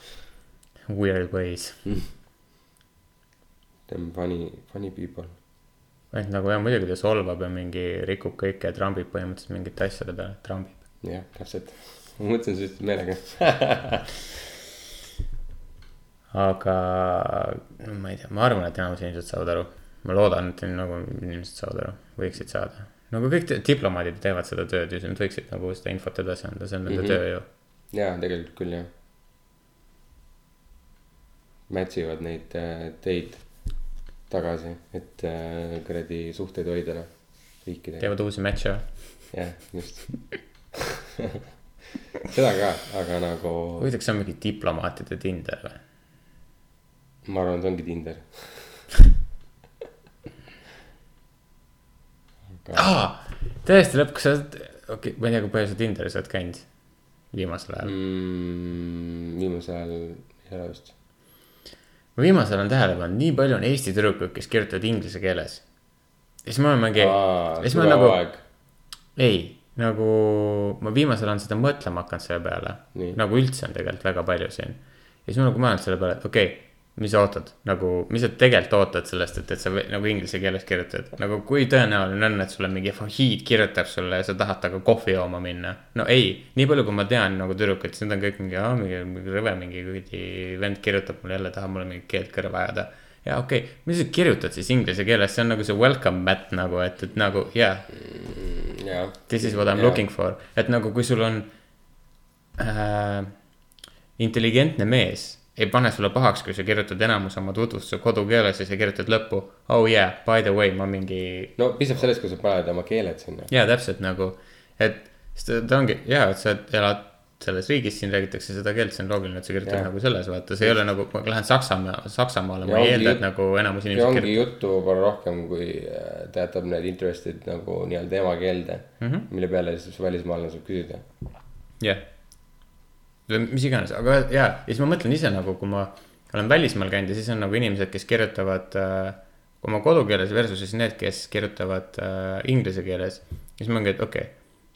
Speaker 8: Weird ways ,
Speaker 7: Mhm. them funny , funny people .
Speaker 8: et nagu jah , muidugi ta solvab ja mingi rikub kõike ja trambib põhimõtteliselt mingite asjade peale , trambib .
Speaker 7: jah , täpselt . ma mõtlesin sellest meelega .
Speaker 8: aga no ma ei tea , ma arvan , et enamus inimesed saavad aru . ma loodan , et nagu inimesed saavad aru , võiksid saada . nagu kõik te- diplomaadid teevad seda tööd ju , siis nad võiksid nagu seda infot edasi anda , see on nende mm
Speaker 7: Mhm.
Speaker 8: -hmm. töö ju .
Speaker 7: jaa , tegelikult küll jah . mätsivad neid äh, teid tagasi , et äh, kuradi suhteid hoida noh , riikidega .
Speaker 8: teevad uusi match'e .
Speaker 7: jah , just . seda ka , aga nagu
Speaker 8: huvitav , kas see on mingi diplomaatide Tinder või ?
Speaker 7: ma arvan , et ongi Tinder .
Speaker 8: aa , täiesti lõpp , kas sa oled , okei okay, , ma ei tea , kui palju sa Tinderis oled käinud viimasel
Speaker 7: Mhm.
Speaker 8: ajal mm. .
Speaker 7: Mm, viimasel ajal ei ole vist .
Speaker 8: viimasel ajal on tähele pannud , nii palju on Eesti tüdrukuid , kes kirjutavad inglise keeles . ja siis ma olen mingi , ja siis ma olen nagu ei , nagu ma viimasel ajal seda mõtlema hakanud selle peale
Speaker 7: Nii. ,
Speaker 8: nagu üldse on tegelikult väga palju siin . ja siis ma nagu mõelnud selle peale , et okei okay, , mis sa ootad nagu , mis sa tegelikult ootad sellest , et , et sa võ- nagu inglise keeles kirjutad , nagu kui tõenäoline on , et sulle mingi fahiid kirjutab sulle ja sa tahad temaga kohvi jooma minna . no ei , nii palju , kui ma tean nagu tüdrukuid , siis nad on kõik mingi , aa , mingi mingi rõve , mingi kuradi vend kirjutab mulle jälle , tahab mulle mingit keelt kõrva ajada ja okei okay. , mis sa kirjutad siis inglise keeles , see on nagu see welcome mat nagu , et , et nagu jaa yeah, ,
Speaker 7: jah .
Speaker 8: this is what I m yeah. looking for , et nagu kui sul on äh, intelligentne mees , ei pane sulle pahaks , kui sa kirjutad enamus oma tutvustuse kodukeeles ja sa kirjutad lõppu . Oh yeah , by the way , ma mingi ,
Speaker 7: no piisab sellest , kui sa paned oma keeled sinna .
Speaker 8: jaa , täpselt nagu , et sest ta- ta ongi hea , et sa elad selles riigis , siin räägitakse seda keelt , see on loogiline , et sa kirjutad
Speaker 7: Jah.
Speaker 8: yeah. nagu selles , vaata , see ei ole nagu , ma lähen Saksamaa , Saksamaale ,
Speaker 7: Ja
Speaker 8: ma ei
Speaker 7: ongi
Speaker 8: eelda ,
Speaker 7: ju-
Speaker 8: et nagu enamus
Speaker 7: ja
Speaker 8: inimesi
Speaker 7: ongi
Speaker 8: kirjutab .
Speaker 7: juttu võib-olla rohkem , kui äh, ta jätab need interest'id nagu nii-öelda emakeelde mm ,
Speaker 8: Mhm.
Speaker 7: -hmm. mille peale siis välismaalane saab küsida .
Speaker 8: jah . või mis iganes , aga jaa , ja siis ma mõtlen ise nagu , kui ma olen välismaal käinud ja siis on nagu inimesed , kes kirjutavad äh, oma kodukeeles versus siis need , kes kirjutavad äh, inglise keeles . ja siis ma mõtlen , et okei okay, ,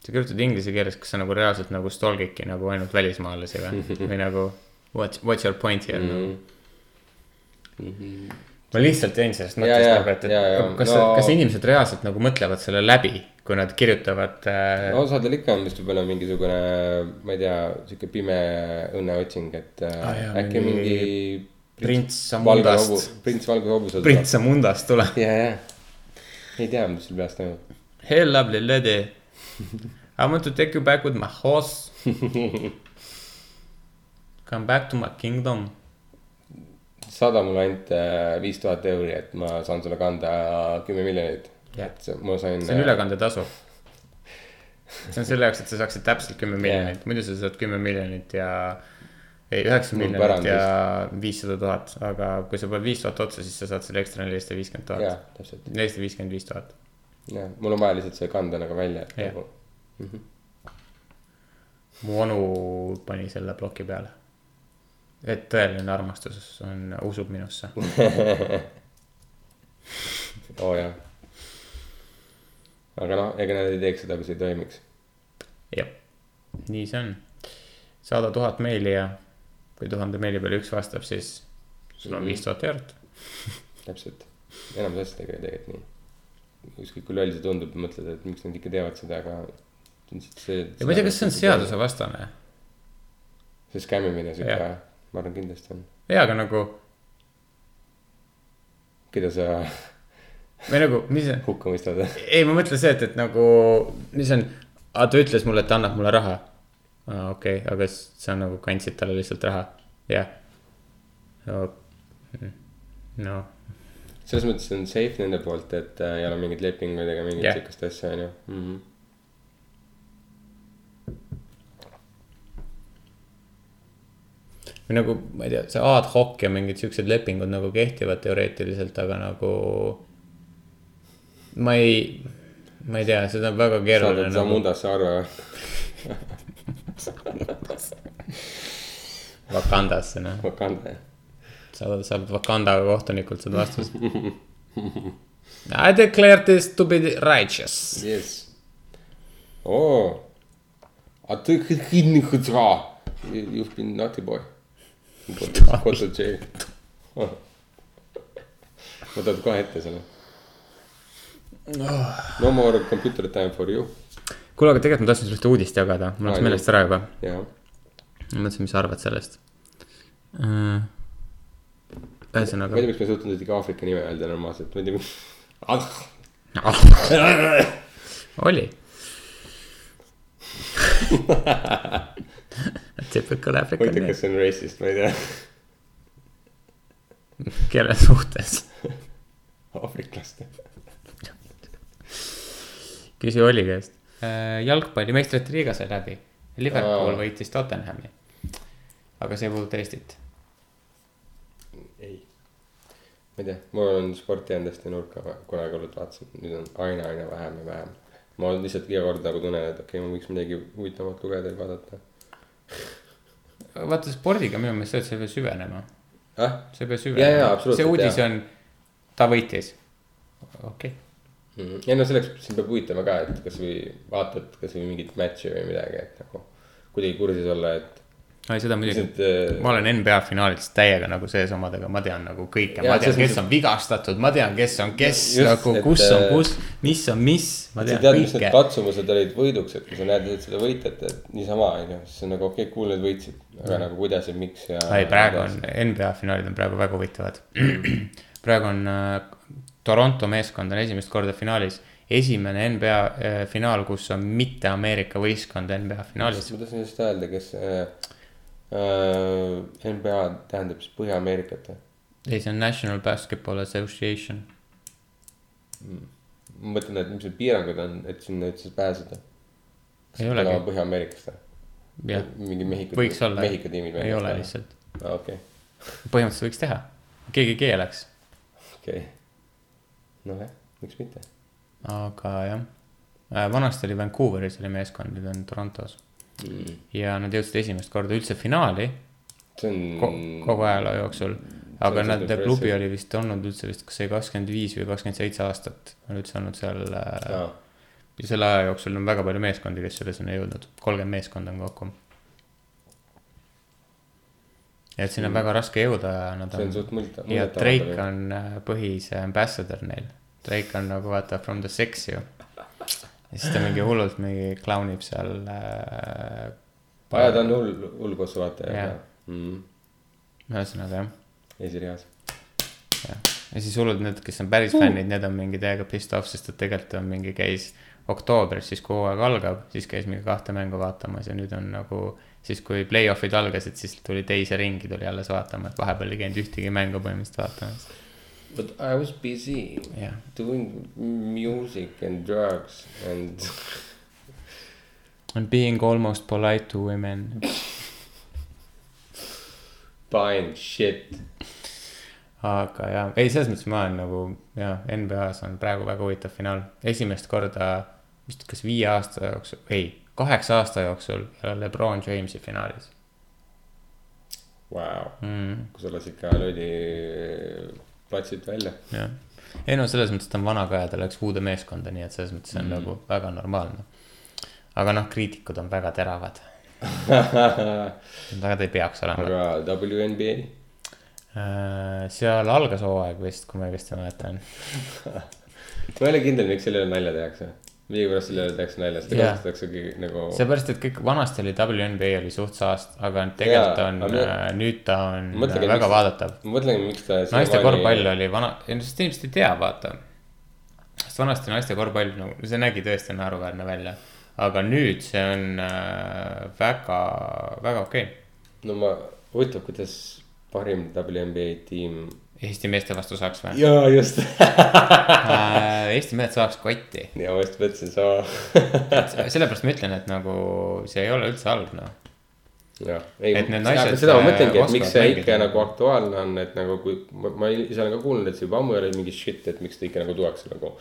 Speaker 8: sa kirjutad inglise keeles , kas sa nagu reaalselt nagu stalgidki nagu ainult välismaalasi või , või nagu what's , what's your point here mm -hmm. nagu ma lihtsalt jäin sellest mõttest
Speaker 7: Mm-hmm. Ja, ja,
Speaker 8: nagu , et , et
Speaker 7: ja, ja,
Speaker 8: kas no...
Speaker 7: no- ,
Speaker 8: kas inimesed reaalselt nagu mõtlevad selle läbi , kui nad kirjutavad äh, no,
Speaker 7: osadel ikka on vist võib-olla mingisugune , ma ei tea , sihuke pime õnneotsing , et äh,
Speaker 8: Ah, jaa,
Speaker 7: äkki
Speaker 8: mingi
Speaker 7: mingi .
Speaker 8: prints Samundast. .
Speaker 7: prints Valge hobusel .
Speaker 8: prints Amundast tuleb .
Speaker 7: ja , ja , ei tea , mis sul peas toimub .
Speaker 8: Hey lovely lady, I want to take you back with my horse. Come back to my kingdom .
Speaker 7: saada mulle ainult äh, viis tuhat euri , et ma saan sulle kanda kümme miljonit .
Speaker 8: Jah.
Speaker 7: et see- ma sain . äh,
Speaker 8: see on ülekandetasu . see on selle jaoks , et sa saaksid täpselt kümme miljonit , muidu sa saad kümme miljonit ja . ei , üheksa
Speaker 7: Mul
Speaker 8: miljonit ja viissada tuhat , aga kui sa paned viis tuhat otsa , siis sa saad selle ekstra nelisada viiskümmend
Speaker 7: jah
Speaker 8: tuhat .,
Speaker 7: täpselt ,
Speaker 8: nelisada viiskümmend viis tuhat .
Speaker 7: jah , mul on vaja lihtsalt see kanda nagu välja , et
Speaker 8: Jah.
Speaker 7: nagu
Speaker 8: mu onu pani selle ploki peale . et tõeline armastus on , usub minusse .
Speaker 7: oo oh, jah . aga noh , ega nad ei teeks seda , kui see ei toimiks .
Speaker 8: jah , nii see on . saada tuhat meili ja kui tuhande meili peale üks vastab , siis sul on
Speaker 7: Mhm.
Speaker 8: viis tuhat eurot .
Speaker 7: täpselt , enamus asjadega ei tegelikult nii . ükskõik kui loll see tundub , mõtled , et miks nad ikka teevad seda , aga see on lihtsalt see .
Speaker 8: ja ma ei tea , kas see on . seadusevastane .
Speaker 7: see skämmimine sihuke
Speaker 8: Jah. ,
Speaker 7: ma arvan , kindlasti on .
Speaker 8: jaa , aga nagu ,
Speaker 7: keda sa
Speaker 8: või nagu , mis see ,
Speaker 7: hukka mõistad ?
Speaker 8: ei , ma mõtlen see , et , et nagu , mis see on , aa , ta ütles mulle , et ta annab mulle raha . aa , okei okay, , aga s- sa nagu kandsid talle lihtsalt raha , jah . noh ,
Speaker 7: selles mõttes on safe nende poolt , et äh, ei ole mingeid lepinguid ega mingit
Speaker 8: Jah.
Speaker 7: yeah. sihukest asja , onju mm . -hmm.
Speaker 8: või nagu , ma ei tea , see ad hoc ja mingid siuksed lepingud nagu kehtivad teoreetiliselt , aga nagu . ma ei , ma ei tea , seda on väga
Speaker 7: saadad
Speaker 8: keeruline
Speaker 7: nagu...
Speaker 8: nagu
Speaker 7: Zamundasse arve ,
Speaker 8: Wakandasse noh ,
Speaker 7: Wakanda .
Speaker 8: sa saad Wakanda kohtunikult seda vastust . I declare this to be righteous .
Speaker 7: Yes . oo . A te kinni hõdra . You have been naughty boy . Go to jail . võtad kohe ette selle . no more computer time for you .
Speaker 8: kuule , aga tegelikult ma tahtsin sulle uudist jagada , mul
Speaker 7: Aa,
Speaker 8: läks
Speaker 7: nii.
Speaker 8: meelest ära juba .
Speaker 7: jah ,
Speaker 8: ma mõtlesin , mis sa arvad sellest .
Speaker 7: ma ei
Speaker 8: ühesõnaga
Speaker 7: tea ,. miks ma ei suutnud isegi Aafrika nime öelda normaalselt , ma ei tea miks ah. .
Speaker 8: oli typical African
Speaker 7: huvitav ,
Speaker 8: name
Speaker 7: kas , see on racist , ma ei tea .
Speaker 8: kelle suhtes .
Speaker 7: aafriklaste .
Speaker 8: küsi Olli käest . jalgpalli meistrite liiga Äh, sai läbi . Liverpool
Speaker 7: Aa.
Speaker 8: võitis Tottenhami . aga see ei puuduta Eestit .
Speaker 7: ei . ma ei tea , mul on sporti jäänud hästi nurka , kunagi hullult vaatasin , nüüd on aina , aina vähem ja vähem . ma lihtsalt iga kord nagu tunnen , et okei okay, , ma võiks midagi huvitavamat lugeda ja vaadata .
Speaker 8: vaata spordiga minu meelest see , et sa ei pea süvenema ,
Speaker 7: ah ,
Speaker 8: sa ei pea
Speaker 7: Jaa, jaa,
Speaker 8: süvenema . see
Speaker 7: absoluutselt,
Speaker 8: uudis
Speaker 7: jaa.
Speaker 8: on , ta võitis . okei okay. ,
Speaker 7: ja no selleks sind peab huvitama ka , et kasvõi vaatad kasvõi mingit match'i või midagi , et nagu kuidagi kursis olla , et
Speaker 8: ei seda muidugi
Speaker 7: lihtsalt äh,
Speaker 8: ma olen NBA finaalides täiega nagu sees omadega , ma tean nagu kõike , ma
Speaker 7: Jaa,
Speaker 8: tean ,
Speaker 7: selles
Speaker 8: kes
Speaker 7: mõttes-
Speaker 8: on vigastatud , ma tean , kes on kes ,
Speaker 7: Just,
Speaker 8: nagu
Speaker 7: et,
Speaker 8: kus on
Speaker 7: äh,
Speaker 8: kus , mis on mis , ma
Speaker 7: sa
Speaker 8: tean
Speaker 7: tead , mis need
Speaker 8: kõike .
Speaker 7: katsumused olid võiduks , et kui sa näed et seda võitjat , et niisama , onju , siis on nagu okei okay, , cool , et võitsid , aga nagu kuidas ja miks ja .
Speaker 8: ei , Mm. praegu on , NBA finaalid on praegu väga huvitavad . praegu on äh, Toronto meeskond on esimest korda finaalis , esimene NBA äh, finaal , kus on mitte Ameerika võistkond NBA finaalis .
Speaker 7: ma tahtsin just öelda , kes äh, äh, NBA tähendab siis Põhja-Ameerikat või ?
Speaker 8: ei , see on National Basketball Association .
Speaker 7: ma mõtlen , et mis need piirangud on , et sinna üldse pääseda .
Speaker 8: Ei olegi.
Speaker 7: Põhja-Ameerikast või ?
Speaker 8: jah ,
Speaker 7: mingi Mehhiko .
Speaker 8: võiks olla ,
Speaker 7: Mehhiko tiimid .
Speaker 8: ei ole . lihtsalt ,
Speaker 7: okei ,
Speaker 8: põhimõtteliselt võiks teha , keegi keelaks ,
Speaker 7: okei . nojah , miks mitte .
Speaker 8: aga jah . vanasti oli Vancouveris oli meeskond , nüüd on Torontos
Speaker 7: Mm.
Speaker 8: ja nad jõudsid esimest korda üldse finaali
Speaker 7: see
Speaker 8: ko
Speaker 7: on .
Speaker 8: kogu ajaloo jooksul . aga
Speaker 7: on
Speaker 8: nad
Speaker 7: suht ,
Speaker 8: klubi
Speaker 7: impressive.
Speaker 8: oli vist olnud üldse vist , kas see kakskümmend viis või kakskümmend seitse aastat on üldse olnud seal äh, .
Speaker 7: aa ,
Speaker 8: ja selle aja jooksul on väga palju meeskondi , kes selle sinna jõudnud , kolmkümmend meeskonda on kokku . et sinna on väga raske jõuda ja nad
Speaker 7: Mm. see on
Speaker 8: on .
Speaker 7: suht multa .
Speaker 8: ja Drake . on äh, põhise ambassador neil . Drake on nagu vaata from the sex ju . ja siis ta mingi hullult mingi klaunib seal äh, .
Speaker 7: aa , ta on hull , hull Mhm, kossuvaataja
Speaker 8: Jah.
Speaker 7: yeah. .
Speaker 8: ühesõnaga jah
Speaker 7: esireas .
Speaker 8: jah , ja siis hullud need , kes on päris fännid , need on mingi täiega pissed off , sest et tegelikult on mingi , käis oktoobris , siis kui hooaeg algab , siis käis mingi kahte mängu vaatamas ja nüüd on nagu , siis kui play-off'id algasid , siis tuli teise ringi tuli alles vaatama , et vahepeal ei käinud ühtegi mängu põhimõtteliselt vaatamas .
Speaker 7: But I was busy
Speaker 8: jah ,
Speaker 7: doing music and drugs and
Speaker 8: on being almost polite to women .
Speaker 7: buying shit .
Speaker 8: aga jaa , ei , selles mõttes ma olen nagu jaa , NBA-s on praegu väga huvitav finaal , esimest korda vist kas viie aasta jooksul , ei , kaheksa aasta jooksul ei ole Lebron Jamesi finaalis
Speaker 7: Wow.
Speaker 8: mm. .
Speaker 7: kui sa lasid ka löödi platsilt välja .
Speaker 8: jah , ei no selles mõttes ta on vana ka ja ta läks uude meeskonda , nii et selles mõttes see on mm. nagu väga normaalne . aga noh , kriitikud on väga teravad ,
Speaker 7: aga
Speaker 8: aga ta ei peaks olema . Äh,
Speaker 7: WNBA ,
Speaker 8: seal algas hooaeg vist , kui ma õigesti mäletan .
Speaker 7: ma ei ole kindel , miks selle üle nalja tehakse . millegipärast selle üle tehakse nalja , seda
Speaker 8: Jaa.
Speaker 7: kasutataksegi nagu .
Speaker 8: seepärast , et kõik vanasti oli WNBA oli suht saast , aga tegelikult
Speaker 7: Jaa,
Speaker 8: on äh,
Speaker 7: aga me- ,
Speaker 8: nüüd ta on äh,
Speaker 7: Mõtlegi,
Speaker 8: väga
Speaker 7: miks-
Speaker 8: vaadatav .
Speaker 7: ma mõtlen , miks ta .
Speaker 8: naiste korvpall oli vana , sest inimesed ei tea , vaata . sest vanasti naiste korvpall , no see nägi tõesti naeruväärne välja , aga nüüd see on äh, väga , väga okei okay. .
Speaker 7: no ma , huvitav , kuidas parim WNBA tiim .
Speaker 8: Eesti meeste vastu saaks või ?
Speaker 7: jaa , just .
Speaker 8: Äh, Eesti mehed saaks kotti ,
Speaker 7: ja ma just mõtlesin sama .
Speaker 8: sellepärast ma ütlen , et nagu see ei ole üldse halb noh .
Speaker 7: jah , ei
Speaker 8: Et , need
Speaker 7: seda,
Speaker 8: naised,
Speaker 7: seda ma
Speaker 8: äh,
Speaker 7: mõtlengi , et miks
Speaker 8: oskavad
Speaker 7: see
Speaker 8: mängida.
Speaker 7: ikka nagu aktuaalne on , et nagu kui ma, ma ise olen ka kuulnud , et see juba ammu ei ole mingi shit , et miks ta ikka nagu tuuakse nagu .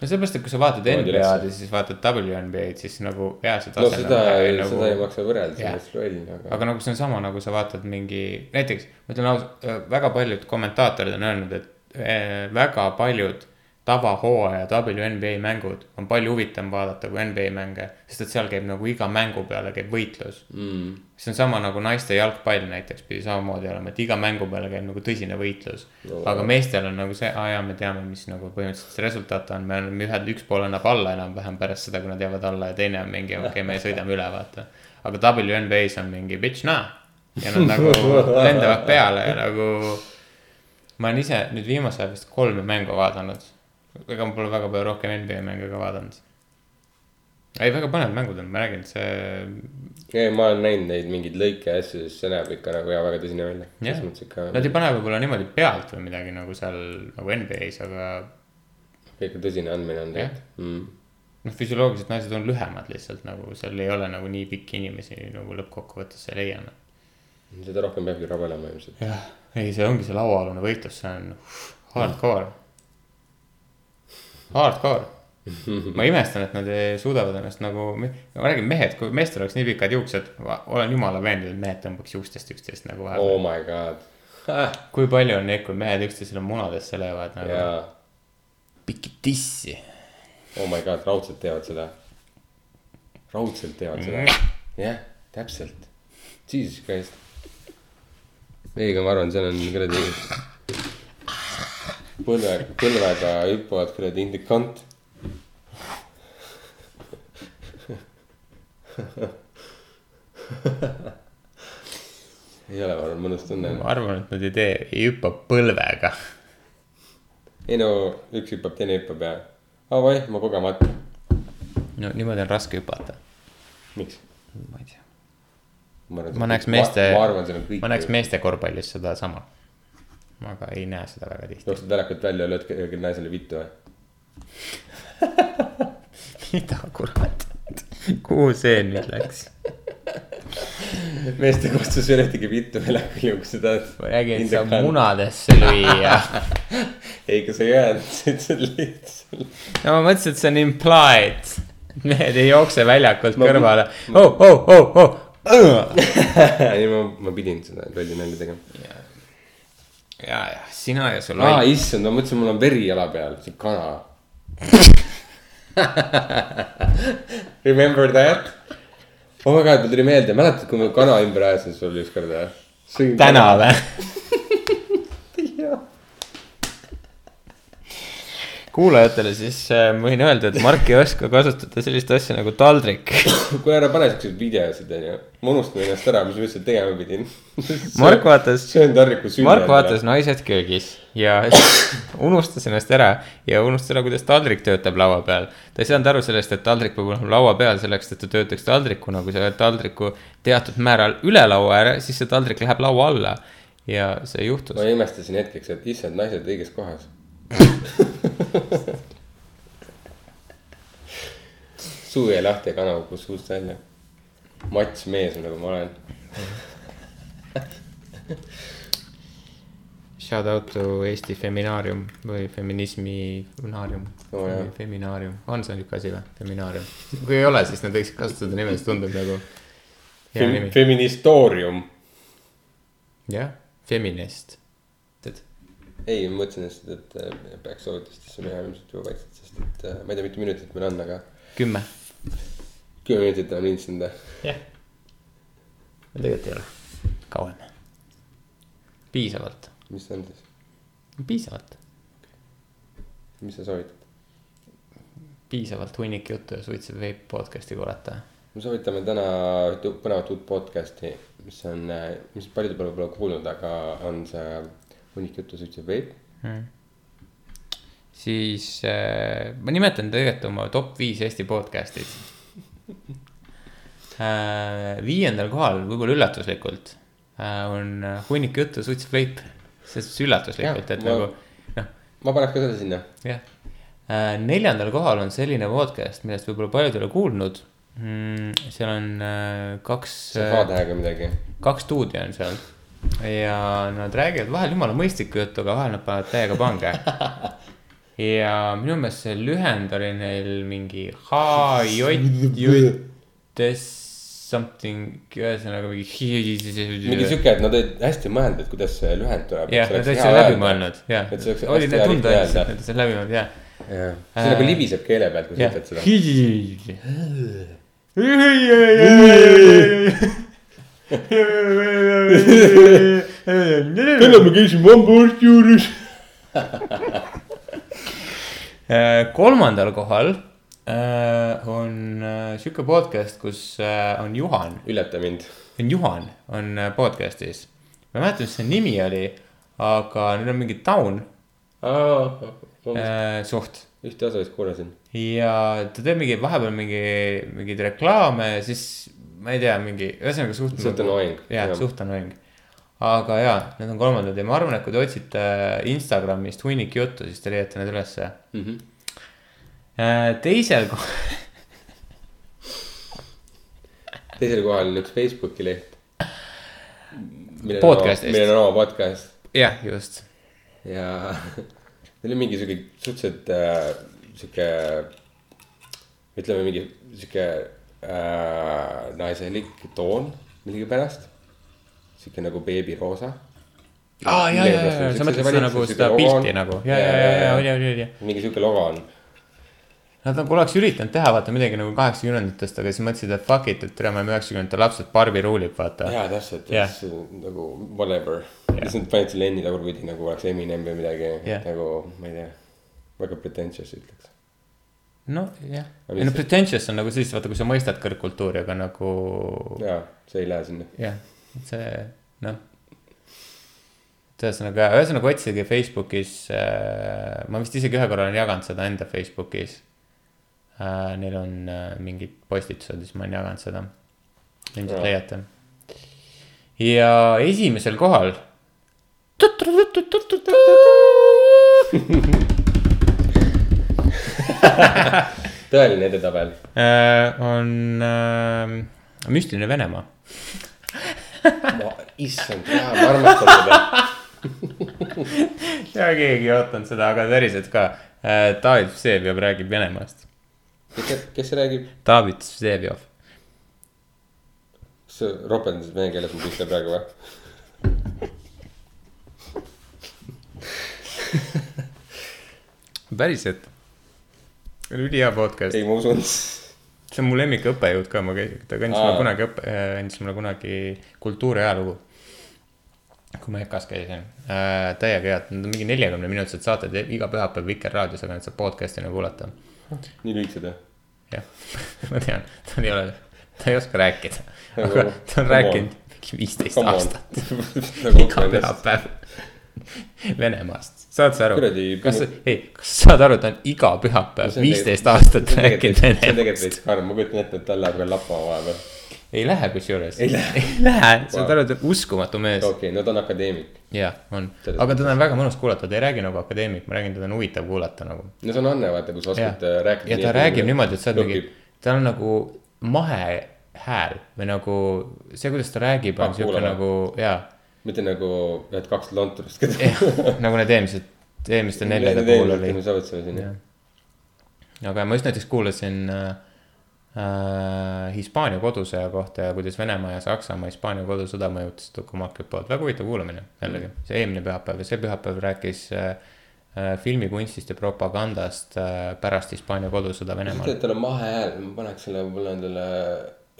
Speaker 8: no sellepärast , et kui sa vaatad
Speaker 7: Moodi
Speaker 8: NBA-d
Speaker 7: üles.
Speaker 8: ja siis vaatad WNBA-d , siis nagu jaa , see
Speaker 7: no
Speaker 8: tase
Speaker 7: noh, seda ,
Speaker 8: nagu,
Speaker 7: seda ei maksa võrrelda , see
Speaker 8: Jah.
Speaker 7: on just loll , aga .
Speaker 8: aga nagu see on sama , nagu sa vaatad mingi , näiteks ma ütlen ausalt , väga paljud kommentaatorid on öelnud , et äh, väga paljud tavahooaja WNBA mängud on palju huvitavam vaadata kui NBA mänge , sest et seal käib nagu iga mängu peale käib võitlus
Speaker 7: Mm.
Speaker 8: see on sama nagu naiste jalgpall näiteks pidi samamoodi olema , et iga mängu peale käib nagu tõsine võitlus
Speaker 7: No.
Speaker 8: no, . aga meestel on nagu see , aa jaa , me teame , mis nagu põhimõtteliselt see resultaat on , me oleme ühed , üks pool annab alla enam-vähem pärast seda , kui nad jäävad alla ja teine on mingi okei okay, , me sõidame üle , vaata . aga WNBA-s on mingi bitch nah ja nad nagu lendavad peale ja nagu . ma olen ise nüüd viimasel ajal vist kolme mängu vaadanud . ega ma pole väga palju rohkem NBA mänge ka vaadanud . ei , väga põnevad mängud on , ma räägin , see
Speaker 7: ei , ma olen näinud neid mingeid lõike ja asju , siis see näeb ikka nagu jaa , väga tõsine välja .
Speaker 8: jah
Speaker 7: selles mõttes , ikka
Speaker 8: nad ei pane võib-olla niimoodi pealt või midagi nagu seal nagu NBA-s , aga
Speaker 7: ikka tõsine andmine on
Speaker 8: Jah.
Speaker 7: tegelikult mm. .
Speaker 8: noh , füsioloogiliselt naised on lühemad lihtsalt nagu seal ei ole nagu nii pikki inimesi nagu lõppkokkuvõttes ei leia .
Speaker 7: seda rohkem peabki rabelema ilmselt .
Speaker 8: jah , ei , see ongi see lauaalune võitlus , see on hardcore . Hardcore , ma imestan , et nad ei- suudavad ennast nagu , ma räägin , mehed , kui meestel oleks nii pikad juuksed , olen jumala veendunud , et mehed tõmbaks juustest üksteist nagu
Speaker 7: Oh
Speaker 8: vahepeal .
Speaker 7: my god ah, .
Speaker 8: kui palju on neid , kui mehed üksteisele munadesse löövad nagu
Speaker 7: jaa ,
Speaker 8: pikki tissi
Speaker 7: oh my god , raudselt teevad seda . raudselt teevad seda .
Speaker 8: Mm.
Speaker 7: jah , täpselt . Jesus Christ . ei , aga ma arvan , seal on kuradi põlve , põlvega hüppavad kuradi indikant . ei ole , ma arvan , mõnus tunne on .
Speaker 8: ma arvan , et nad ei tee , ei hüppa põlvega .
Speaker 7: ei no , üks hüppab , teine hüppab ja . aa , vaih , ma kogemata .
Speaker 8: no niimoodi on raske hüpata .
Speaker 7: miks ?
Speaker 8: ma ei tea .
Speaker 7: arvan, see
Speaker 8: ma
Speaker 7: on
Speaker 8: näeks
Speaker 7: kõik-
Speaker 8: meeste
Speaker 7: ma, ma arvan , seal on , kõik .
Speaker 8: ma näeks meeste korvpallis sedasama . aga ei näe seda väga tihti .
Speaker 7: jooksed väljakult välja ja lööd kellelegi naisele vittu või ?
Speaker 8: mida kurat , kuhu see nüüd läks ?
Speaker 7: meeste kohta sa ei löö ühtegi vittu väljakul ju , kui sa tahad .
Speaker 8: ma räägin , et saab . munadesse lüüa .
Speaker 7: ei , kui sa ei öelnud , sa ütlesid lihtsalt .
Speaker 8: no ma mõtlesin , et see on implied . mehed ei jookse väljakult
Speaker 7: Ma-
Speaker 8: kõrvale . oh , oh , oh , oh .
Speaker 7: ei , ma , ma pidin seda lolli nalja tegema .
Speaker 8: ja , ja sina ja su
Speaker 7: aa ,
Speaker 8: loll .
Speaker 7: issand , ma mõtlesin , mul on veri jala peal , see kana . Remember that ? oh my god , mul tuli meelde , mäletad , kui ma kana ümber ajasin sulle ükskord või ?
Speaker 8: täna . või ? kuulajatele siis äh, ma võin öelda , et Mark ei oska kasutada sellist asja nagu taldrik ..
Speaker 7: kuule , ära pane siukseid videosid , onju . ma unustan ennast ära , mis ma üldse tegema pidin
Speaker 8: Mark vaatas ,
Speaker 7: see on tarviku sünni .
Speaker 8: Mark vaatas Naised köögis ja unustas ennast ära ja unustas ära , kuidas taldrik töötab laua peal . ta ei saanud aru sellest , et taldrik peab olema laua peal selleks , et ta töötaks taldrikuna , kui sa oled taldriku teatud määral üle laua ära , siis see taldrik läheb laua alla ja see juhtus
Speaker 7: ma . imestasin hetkeks , et issand , naised õiges kohas . suu jäi lahti ja kana kukkus suust välja . mats mees , nagu ma olen .
Speaker 8: Shout out to Eesti Feminaarium või Feminisminaarium
Speaker 7: Oo, jah.
Speaker 8: Femi- Feminaarium , on see niisugune asi või ? Feminaarium . kui ei ole , siis nad võiksid kasutada nime , see tundub nagu hea Fem nimi .
Speaker 7: feministoorium .
Speaker 8: jah , feminist .
Speaker 7: ei , ma mõtlesin lihtsalt , et äh, peaks soovitustesse minema ilmselt juba vaikselt , sest et äh, ma ei tea , mitu minutit meil on , aga
Speaker 8: kümme .
Speaker 7: kümme minutit on ilmselt .
Speaker 8: jah . tegelikult ei ole . kauem . piisavalt ,
Speaker 7: mis see on siis ,
Speaker 8: piisavalt .
Speaker 7: mis sa soovitad ?
Speaker 8: piisavalt hunnik juttu ja suitseb veip podcast'i kuulata .
Speaker 7: me soovitame täna ühte põnevat uut podcast'i , mis on , mis paljud pole võib-olla kuulnud , aga on see hunnik juttu suitseb veip .
Speaker 8: siis äh, ma nimetan tegelikult oma top viis Eesti podcast'id äh, . Viiendal kohal , võib-olla üllatuslikult äh, , on äh, hunnik juttu suitseb veip , selles suhtes üllatuslikult , et
Speaker 7: Jah, ma-
Speaker 8: nagu noh ,
Speaker 7: ma paneks ka selle sinna .
Speaker 8: jah . neljandal kohal on selline podcast , millest võib-olla paljud ei ole kuulnud mm, . seal on äh, kaks ,
Speaker 7: see on K-tähega midagi .
Speaker 8: kaks stuudio on seal ja nad räägivad vahel jumala mõistlikku juttu , aga vahel nad panevad täiega pange . ja minu meelest see lühend oli neil mingi HJJS something , ühesõnaga
Speaker 7: mingi
Speaker 8: mingi .
Speaker 7: sihuke , et nad olid hästi mõelnud , et kuidas see lühend tuleb .
Speaker 8: jah , nad olid seal läbi mõelnud , jah .
Speaker 7: et see oleks
Speaker 8: oli
Speaker 7: hästi hea
Speaker 8: tunda , et
Speaker 7: lihtne
Speaker 8: nad
Speaker 7: öelda .
Speaker 8: olid seal läbi mõelnud , jah .
Speaker 7: see
Speaker 8: Äh,
Speaker 7: nagu libiseb keele pealt , kui sa ütled seda .
Speaker 8: seda .
Speaker 7: täna ma käisin vambaarsti juures .
Speaker 8: Äh, kolmandal kohal äh, on äh, sihuke podcast , kus äh, on Juhan ,
Speaker 7: üllata mind .
Speaker 8: on Juhan , on äh, podcast'is . ma ei mäleta , mis see nimi oli , aga neil on mingi taun äh, suht
Speaker 7: ühte osa vist kuulasin .
Speaker 8: ja ta teeb mingi vahepeal mingi , mingeid reklaame ja siis ma ei tea , mingi ühesõnaga suht .
Speaker 7: Suht annoying.
Speaker 8: jah
Speaker 7: Jah. ,
Speaker 8: suht annoying . aga ja , need on kolmandad ja ma arvan , et kui te otsite äh, Instagramist hunnik juttu , siis te leiate need ülesse mm .
Speaker 7: Mhm.
Speaker 8: -hmm. teisel kohal ,
Speaker 7: teisel kohal on üks Facebooki leht .
Speaker 8: Podcastist.
Speaker 7: millel on oma podcast
Speaker 8: jah , just .
Speaker 7: ja neil on mingi sihuke suhteliselt äh, sihuke , ütleme mingi sihuke äh, naiselik toon millegipärast . sihuke nagu beebiroosa .
Speaker 8: aa , ja , ja , ja , sa mõtled seda nagu seda pilti nagu , ja , ja , ja , ja , oli , oli , oli .
Speaker 7: mingi sihuke logo on
Speaker 8: Nad nagu oleks üritanud teha vaata midagi nagu kaheksakümnendatest , aga siis mõtlesid , et fuck it , et tere , me oleme üheksakümnendate lapsed , Barbi ruulib , vaata .
Speaker 7: jaa , täpselt
Speaker 8: Jah.
Speaker 7: yeah. , see on nagu whatever yeah. . lihtsalt panid selle N-i tagurpidi nagu oleks Eminem või midagi
Speaker 8: Jah.
Speaker 7: yeah. nagu , ma ei tea , väga pretentious ütleks .
Speaker 8: nojah ,
Speaker 7: Aga
Speaker 8: ei no
Speaker 7: mis-
Speaker 8: pretentious on nagu sellist , vaata , kui sa mõistad kõrgkultuuri , aga nagu
Speaker 7: jaa , see ei lähe sinna .
Speaker 8: jah , see noh . et ühesõnaga , ühesõnaga otsige Facebookis äh, , ma vist isegi ühe korra olen jaganud seda enda Facebookis äh, . Neil on äh, mingid postitused , siis ma olen jaganud seda , ilmselt
Speaker 7: Jaa.
Speaker 8: leiate . ja esimesel kohal
Speaker 7: tõeline edetabel .
Speaker 8: äh, on äh, müstiline Venemaa .
Speaker 7: issand , jaa , ma armastan seda .
Speaker 8: ja keegi ei ootanud seda , aga päriselt ka äh, . David Vseviov räägib Venemaast .
Speaker 7: kes , kes räägib ,
Speaker 8: David Vseviov .
Speaker 7: kas sa ropendasid vene keeles mu pihta praegu või ?
Speaker 8: päriselt ? ülihea podcast .
Speaker 7: ei , ma usun .
Speaker 8: see on mu lemmik õppejõud ka , ma käisin , ta kandis
Speaker 7: Aa.
Speaker 8: mulle kunagi õppe , andis mulle kunagi kultuuriajalugu . kui ma EKA-s käisin äh, , täiega head , need on mingi neljakümne minutised saated iga pühapäev Vikerraadios , aga need saab podcast'ina kuulata .
Speaker 7: nii lühikesed või ?
Speaker 8: jah , ma tean , tal ei ole , ta ei oska rääkida ,
Speaker 7: Nagu,
Speaker 8: aga ta on
Speaker 7: come
Speaker 8: rääkinud mingi viisteist
Speaker 7: Come on.
Speaker 8: aastat iga
Speaker 7: Nagu Ukrainast.
Speaker 8: pühapäev Venemaast , saad sa aru
Speaker 7: Kuradi- ,
Speaker 8: kas , ei , kas sa saad aru , ta on iga pühapäev viisteist aastat rääkinud
Speaker 7: see on tegelikult
Speaker 8: Venemaast ,
Speaker 7: veits karm , ma kujutan ette , et tal läheb veel lappama vahepeal .
Speaker 8: ei lähe kusjuures , ei lähe , saad aru , ta on uskumatu mees
Speaker 7: okei okay, , no ta on akadeemik .
Speaker 8: ja on ,
Speaker 7: Selles
Speaker 8: aga teda on väga mõnus kuulata , ta ei räägi nagu akadeemik , ma räägin , teda on huvitav kuulata nagu
Speaker 7: no see on Anne , vaata , kui sa
Speaker 8: ja
Speaker 7: oskad äh, , rääkida .
Speaker 8: ja ta räägib niimoodi , et sa oled mingi , tal on nagu mahe hääl või nagu see , kuidas ta räägib , on
Speaker 7: Ah,
Speaker 8: siuke
Speaker 7: kuulame.
Speaker 8: nagu ja ,
Speaker 7: mitte nagu ühed kaks lonturist , keda .
Speaker 8: nagu need eelmised , eelmiste neljade puhul oli .
Speaker 7: me soovitasime siin jah .
Speaker 8: aga ma just näiteks kuulasin äh, äh, Hispaania kodusõja kohta ja kuidas Venemaa ja Saksamaa Hispaania kodusõda mõjutas Tukumakilt poolt , väga huvitav kuulamine jällegi , see eelmine pühapäev ja see pühapäev rääkis äh, äh, filmikunstist ja propagandast äh, pärast Hispaania kodusõda Venemaal
Speaker 7: tead ,. tal on mahe hääl , ma paneks selle võib-olla endale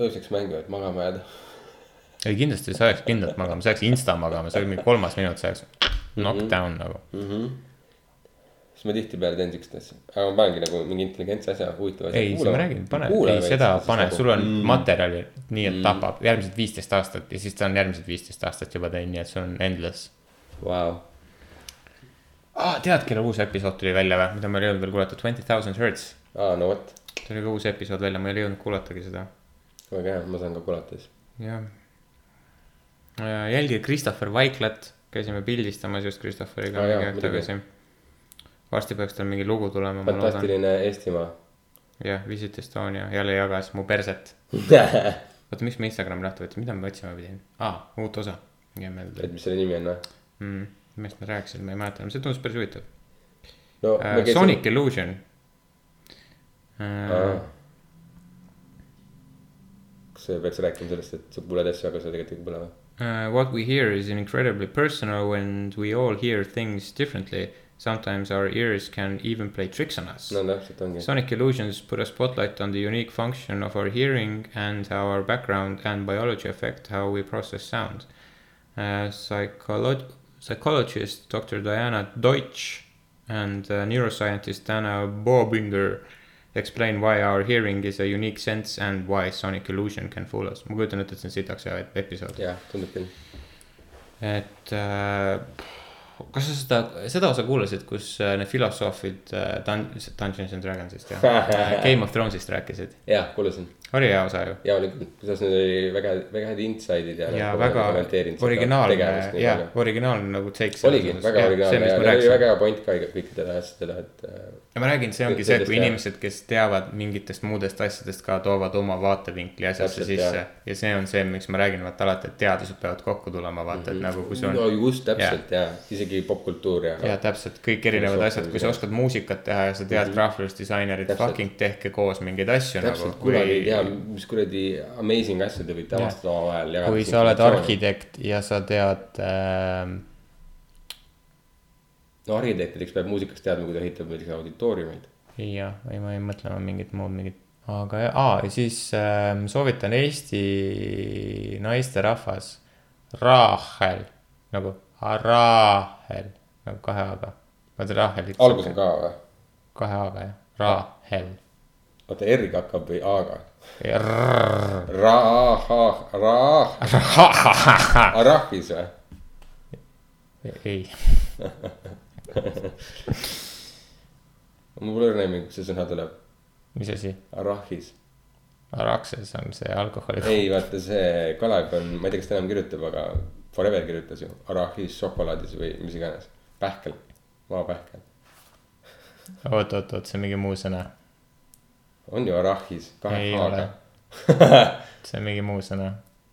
Speaker 7: ööseks mängu , et magama jääda .
Speaker 8: ei kindlasti sa jääks kindlalt magama ,
Speaker 7: Mhm.
Speaker 8: sa jääks insta magama , see oli mingi kolmas minut , sa jääks knockdown nagu .
Speaker 7: siis ma tihtipeale teen siukest asja , aga ma panengi nagu mingi intelligentse asja , huvitava asja .
Speaker 8: ei , seda ma räägin , pane , ei seda
Speaker 7: nagu-
Speaker 8: pane , sul on
Speaker 7: Mhm.
Speaker 8: mm. materjali nii , et tapab järgmised viisteist aastat ja siis ta on järgmised viisteist aastat juba teinud , nii et see on endless
Speaker 7: nagu, Vau ,
Speaker 8: ah, . tead , kelle uus episood tuli välja või , mida ma ei jõudnud veel kuulata , Twenty Thousand Hertz .
Speaker 7: aa no vot ,
Speaker 8: tuli ka uus episood välja , ma ei jõudnud kuulatagi seda .
Speaker 7: väga hea , ma saan ka kuulata siis .
Speaker 8: jah . jälgige Christopher Vaiklat , käisime pildistamas just Christopheriga
Speaker 7: Aa,
Speaker 8: oh,
Speaker 7: jaa,
Speaker 8: mingi aeg
Speaker 7: muidugi.
Speaker 8: tagasi . varsti peaks tal mingi lugu tulema , ma loodan .
Speaker 7: fantastiline Eestimaa .
Speaker 8: jah , Visit Estonia , jälle jagas mu perset . oota , miks me Instagrami lahti võtsime , mida me otsima pidime ah, ? uut osa , jäi meelde
Speaker 7: et . mis selle nimi on noh? või ?
Speaker 8: Mm, millest me rääkisime , ma ei mäleta , see tundus päris huvitav
Speaker 7: no
Speaker 8: uh, . Sonic Illusion uh, .
Speaker 7: kas sa peaks rääkima sellest , et sa kuuled asju , aga sa tegelikult ei kuule või ?
Speaker 8: Uh, what we hear is incredibly personal and we all hear things differently. Sometimes our ears can even play tricks on us.
Speaker 7: no täpselt ongi .
Speaker 8: Sonic illusions put a spotlight on the unique function of our hearing and how our background and biology affect how we process sound. Uh, psycholo- psychologist Dr. Diana Deutsch and uh, neuroscientist Dana Bobinger explain why our hearing is a unique sense and why sonic illusion can fool us. ma kujutan ette , et see on sitaks hea episood .
Speaker 7: jah , tundub küll .
Speaker 8: et äh, kas sa seda , seda osa kuulasid , kus äh, need filosoofid äh, Dun- , Dungeons and Dragonsist ja äh, Game of Thronesist rääkisid ,
Speaker 7: jah , kuulasin .
Speaker 8: oli hea osa ju .
Speaker 7: ja oli küll , kusjuures need oli väga , väga head inside'id ja . nagu
Speaker 8: ja väga originaalne , ja . originaalne nagu take .
Speaker 7: oligi , väga originaalne ja neil oli väga hea point ka kõikidele asjadele , et äh,
Speaker 8: ja ma räägin , see ongi see , kui inimesed , kes teavad mingitest muudest asjadest ka , toovad oma vaatevinkli asjasse
Speaker 7: Täpselt,
Speaker 8: sisse
Speaker 7: jah. .
Speaker 8: ja see on see , miks ma räägin , vaata alati , et teadused peavad kokku tulema , vaata , et nagu kui see on
Speaker 7: Mhm. no just täpselt ja isegi popkultuur ja .
Speaker 8: ja täpselt kõik erinevad asjad , kui sa oskad muusikat teha ja sa tead graafilist disainerit ,
Speaker 7: Mhm. Täpselt.
Speaker 8: fucking tehke koos mingeid asju nagu
Speaker 7: täpselt ,. kunagi ei
Speaker 8: kui
Speaker 7: tea , mis kuradi amazing asju te võite avastada omavahel .
Speaker 8: kui sa oled . arhitekt ja sa tead äh, ,
Speaker 7: no arhitektideks peab muusikast teadma , kuidas ehitab näiteks auditooriumeid .
Speaker 8: jah , ei , ma ei mõtle , ma mingit muud mingit , aga ja, aa, ja siis äh, ma soovitan Eesti naisterahvas , Rahel , nagu Rahel , nagu kahe A-ga , vaata Rahel .
Speaker 7: algus on ka või ?
Speaker 8: kahe A-ga jah , Rahel ,
Speaker 7: oota , R-ga hakkab või A-ga ?
Speaker 8: Rahel .
Speaker 7: Ra-ha- , ra- , arahvis või ?
Speaker 8: ei
Speaker 7: mul pole õrna aimu , kust see sõna tuleb .
Speaker 8: mis asi ?
Speaker 7: arahvis .
Speaker 8: Araxes on see alkoholi .
Speaker 7: ei , vaata see Kalev on , ma ei tea , kas ta enam kirjutab , aga Forever kirjutas ju arahvis šokolaadis või mis iganes . pähkel , maapähkel .
Speaker 8: oot , oot , oot , see on mingi muu sõna .
Speaker 7: on ju arahvis , kahe
Speaker 8: ei ole
Speaker 7: A-ga ..
Speaker 8: see on mingi muu sõna ,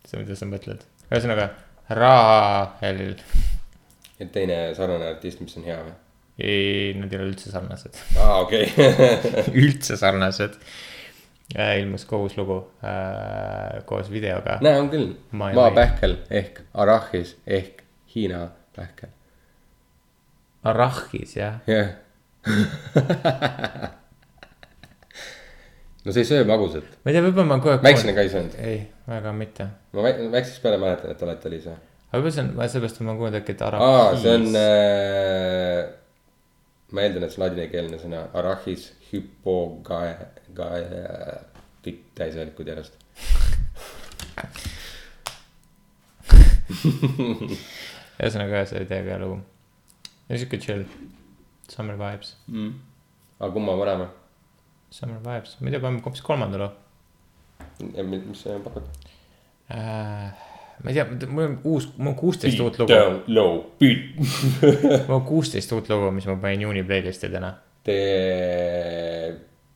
Speaker 8: see , mida sa mõtled . ühesõnaga , Rahel .
Speaker 7: ja teine sarnane artist , mis on hea või ?
Speaker 8: ei , nad ei ole üldse sarnased .
Speaker 7: aa , okei okay. .
Speaker 8: üldse sarnased . ilmus koos lugu äh, koos videoga .
Speaker 7: näe , on küll .
Speaker 8: Ma ei
Speaker 7: maapähkel ehk arahvis ehk Hiina pähkel .
Speaker 8: Arachis , Ah, jah .
Speaker 7: jah . no see ei söö magusat .
Speaker 8: ma ei tea , võib-olla ma kogu aeg .
Speaker 7: väiksena ka ei söönud .
Speaker 8: ei , väga mitte .
Speaker 7: ma väi- väiksest peale mäletan , et alati oli see .
Speaker 8: aga võib-olla see on , sellepärast ma kuulen äkki , et Arachis .
Speaker 7: aa , see on äh, , ma eeldan , et see on ladinakeelne sõna , arahvis hypogae , gae , pikk täishäälikud järjest .
Speaker 8: ühesõnaga , see oli täiega hea lugu . ja sihuke chill . Summer vibes .
Speaker 7: aga kumma paneme ?
Speaker 8: Summer Vibes , ma ei tea , paneme hoopis kolmanda loo
Speaker 7: mis sa pakud ?
Speaker 8: äh, . ma ei tea , mul on uus , mul on kuusteist uut lugu ,
Speaker 7: low beat .
Speaker 8: mul on kuusteist uut lugu , mis ma panin juuni playlist'i täna .
Speaker 7: tee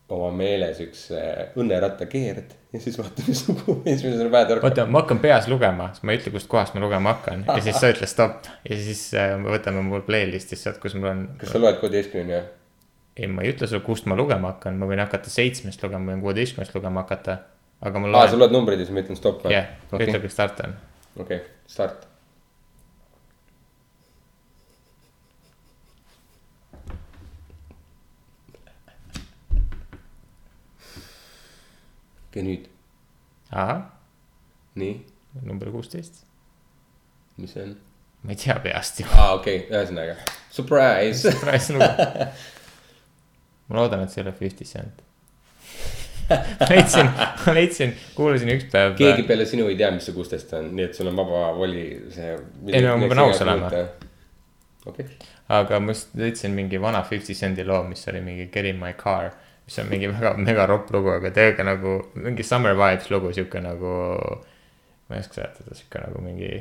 Speaker 7: oma meeles üks äh, õnnerattakeerd ja siis vaata , mis lugu , mis meil seal pähe torkab .
Speaker 8: oota , ma hakkan peas lugema , siis ma ei ütle , kustkohast ma lugema hakkan ja siis sa ütle stopp ja siis äh, me võtame mul playlist'ist sealt , kus mul on .
Speaker 7: kas sa loed kuueteistkümneni või ?
Speaker 8: ei , ma ei ütle sulle , kust ma lugema hakkan , ma võin hakata seitsmest lugema , ma võin kuueteistkümnest lugema hakata , aga ma
Speaker 7: aa , Ah, sa
Speaker 8: loen ,
Speaker 7: loed numbreid ja siis ma ütlen stopp või ?
Speaker 8: jah , ütle ,
Speaker 7: okei ,
Speaker 8: kui start on .
Speaker 7: okei , start . ja nüüd ,
Speaker 8: ahah ,
Speaker 7: nii ,
Speaker 8: number kuusteist ,
Speaker 7: mis see on ?
Speaker 8: ma ei tea peast ju .
Speaker 7: aa , okei okay. , ühesõnaga surprise .
Speaker 8: Surprise lugu . ma loodan , et see ei ole Fifty Cent . leidsin , ma leidsin , kuulasin üks päev .
Speaker 7: keegi peale sinu ei tea , mis see kuusteist on , nii et sul on vaba voli see .
Speaker 8: Ei no ma pean aus olema. .
Speaker 7: okei okay. ,
Speaker 8: aga ma just leidsin mingi vana Fifty Cendi loo , mis oli mingi Get in my car , mis on mingi väga mega ropp lugu , aga täiega nagu mingi summer vibes lugu , sihuke nagu . ma ei oska seletada , sihuke nagu mingi ,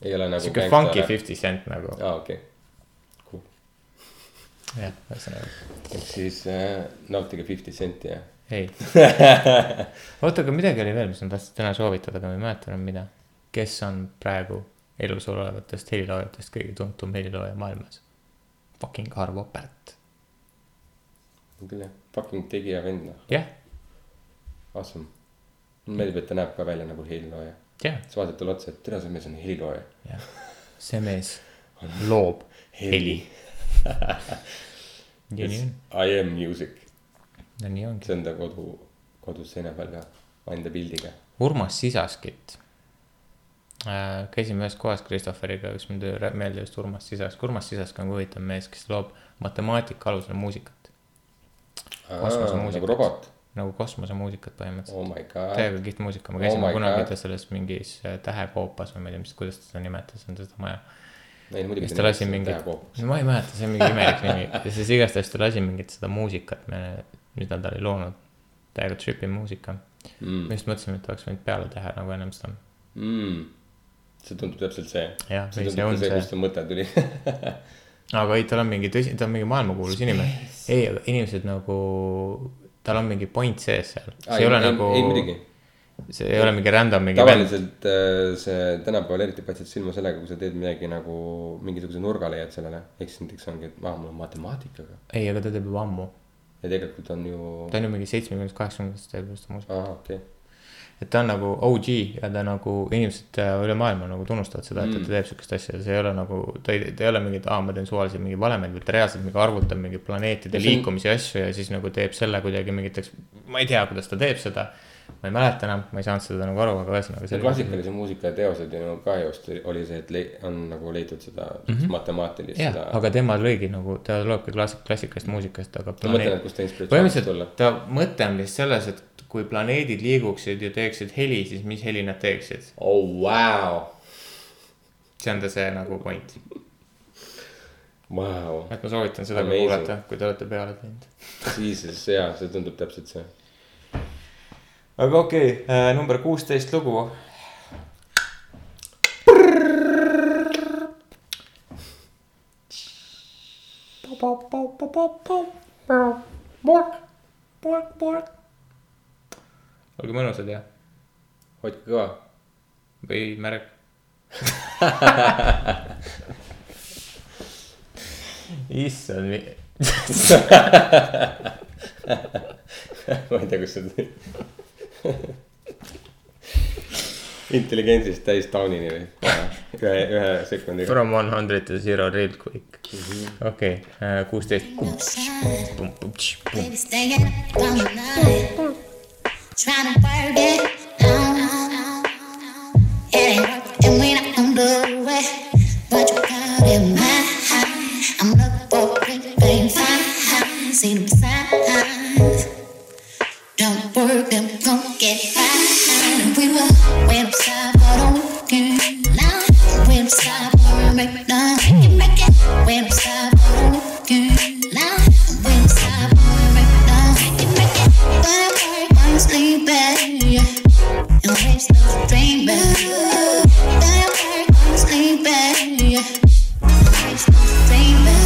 Speaker 7: ei ole nagu .
Speaker 8: sihuke funky . Fifty Cent nagu ,
Speaker 7: aa , okei okay. ,
Speaker 8: jah , ühesõnaga ,
Speaker 7: ehk siis äh, nautige Fifty Centi ja .
Speaker 8: ei . oota , aga midagi oli veel , mis ma tahtsin täna soovitada , aga ma ei mäleta enam mida . kes on praegu elus olevatest heliloojatest kõige tuntum helilooja maailmas ? Fucking Arvo Pärt ,
Speaker 7: küll jah , fucking tegija vend noh ,
Speaker 8: jah ,
Speaker 7: awesome . mulle meeldib , et ta näeb ka välja nagu helilooja ,
Speaker 8: jah ,
Speaker 7: siis vaatad talle otsa , et tere , see mees on helilooja .
Speaker 8: jah , see mees loob heli . ja nii on ,
Speaker 7: I am music ,
Speaker 8: ja nii ongi .
Speaker 7: see on ta kodu , kodus seina peal ka , enda pildiga .
Speaker 8: Urmas Sisaskit äh, . käisime ühes kohas Christopheriga , kus mul tuli rä- meelde just Urmas Sisask , Urmas Sisask on huvitav mees , kes loob matemaatika alusel muusikat , Kosmosemuusikat.
Speaker 7: nagu robot ,
Speaker 8: nagu kosmosemuusikat põhimõtteliselt
Speaker 7: oh my god ,
Speaker 8: täiega kihvt muusika , ma
Speaker 7: Oh
Speaker 8: käisin
Speaker 7: my
Speaker 8: oh kunagi
Speaker 7: God.
Speaker 8: ta selles mingis äh, tähekoopas või ma ei tea , mis , kuidas ta seda nimetas , on seda maja .
Speaker 7: ei no muidugi .
Speaker 8: siis ta lasi mingit , ma ei mäleta , see on mingi imelik nimi ja siis igastahes ta lasi mingit seda muusikat , mida ta oli loonud . täiega tripi muusika mm. . me just mõtlesime , et oleks võinud peale teha nagu ennem seda .
Speaker 7: mm. . see tundub täpselt see .
Speaker 8: Jah,
Speaker 7: see
Speaker 8: või see
Speaker 7: tundub
Speaker 8: on
Speaker 7: ka see ,
Speaker 8: see.
Speaker 7: kust see mõte tuli .
Speaker 8: aga ei , tal on mingi tõsi , ta on mingi maailmakuulus inimene . ei , aga inimesed nagu , tal on mingi point sees seal . see ei ole nagu ,
Speaker 7: ei muidugi ,
Speaker 8: see ei ole mingi random mingi vend .
Speaker 7: tavaliselt äh, see tänapäeval eriti paistad silma sellega , kui sa teed midagi nagu mingisuguse nurga leiad sellele . ehk siis näiteks ongi , et aa , mul on matemaatikaga
Speaker 8: ei , aga ta teeb juba ammu .
Speaker 7: ja tegelikult on ju .
Speaker 8: ta on ju mingi seitsmekümnendast , kaheksakümnendatest teeb just muusikat .
Speaker 7: aa , okei ,
Speaker 8: et ta on nagu OG ja ta nagu inimesed äh, üle maailma nagu tunnustavad seda , et mm. ta teeb siukest asja , see ei ole nagu , ta ei , ta ei ole mingi , et aa , ma teen suvaliselt mingeid valemeid , vaid ta reaalselt mingi arvutab mingeid planeetide
Speaker 7: Ja see on-
Speaker 8: liikumisi ja asju ja siis nagu teeb selle kuidagi mingiteks , ma ei tea , kuidas ta teeb seda . ma ei mäleta enam , ma ei saanud seda nagu aru , aga ühesõnaga . nagu-
Speaker 7: see klassikalise muusika teosed ju ka just oli see , et lei- , on nagu leitud seda mm -hmm. matemaatilist
Speaker 8: Mhm. jah
Speaker 7: seda ,.
Speaker 8: aga tema lõigi nagu , ta loobki klassik , klassikalist muusikast , aga
Speaker 7: ma mõtlen , et
Speaker 8: planeet-
Speaker 7: kust ta inspiratsioonist tulla .
Speaker 8: põhimõtteliselt ta mõte on vist selles , et kui planeedid liiguksid ja teeksid heli , siis mis heli nad teeksid .
Speaker 7: oh , vau ,
Speaker 8: see on ta see nagu point .
Speaker 7: vau ,
Speaker 8: et ma soovitan seda ka
Speaker 7: Amazing.
Speaker 8: kuulata , kui te olete peale teinud .
Speaker 7: jesus , jaa , see tundub täpselt see
Speaker 8: aga okei okay, , number kuusteist lugu .
Speaker 6: Bork, bork, bork.
Speaker 8: olge mõnusad ja ,
Speaker 7: hoidke kõva
Speaker 8: või märg . issand ,
Speaker 7: ma ei tea , kus see tuli . intelligentsist täis taunini või ? ühe , ühe sekundiga .
Speaker 8: from one hundred to zero real quick . okei , kuusteist .
Speaker 2: Baby, staying up all night, trying to work it out. It ain't working, we not gonna do it. But you got in my eye. I'm looking for a great big find. See them signs. Don't work them, gon' get fine. We will wait outside for the weekend. Now, wait outside for a break. Now, make it, make it. Wait outside for the weekend. Now, wait outside for a break. Now, make it, make it. Gonna work while you're sleeping. And waves no dreaming. Gonna work while you're sleeping. And waves no dreaming.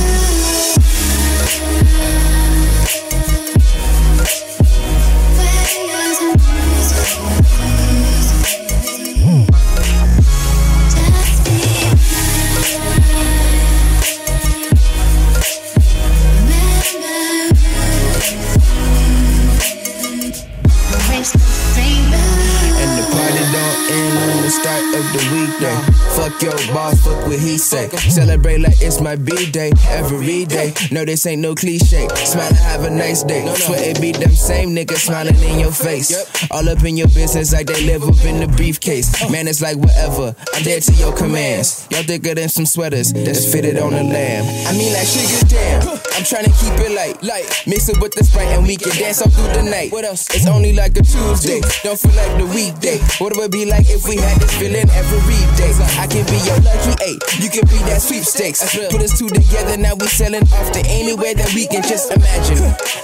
Speaker 5: And the party don't end on the start of the weekday. Fuck your boss, fuck fuck what he say. Celebrate like it's my b-day every day. No, this ain't no cliche. Smile and have a nice day. Swear it be them same niggas smiling in your face. All up in your business like they live up in the briefcase. Man, it's like whatever. I'm dead to your commands. Y'all thicker than some sweaters that's fitted on a lamb. I mean like sugar damn. I'm trying to keep it light, light. Mix it with the sprite and we can dance all through the night. What else? It's only like a Tuesday. Don't feel like the weekday. What would it be like if we had this feeling every day? I can be your lucky eight. You can be that sweepstakes. Put us two together, now we selling off to anywhere that we can just imagine.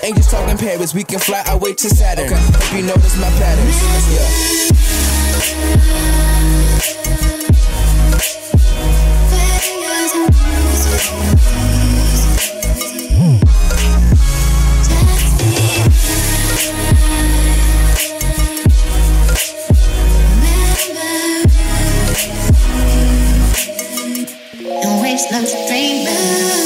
Speaker 5: Ain't just talking Paris, we can fly our way to Saturn. Hope you notice my patterns. Yeah.
Speaker 2: And waves no strangers.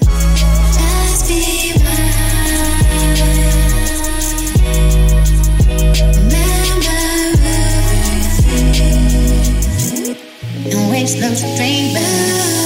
Speaker 2: Just be Remember everything. And waves no strangers.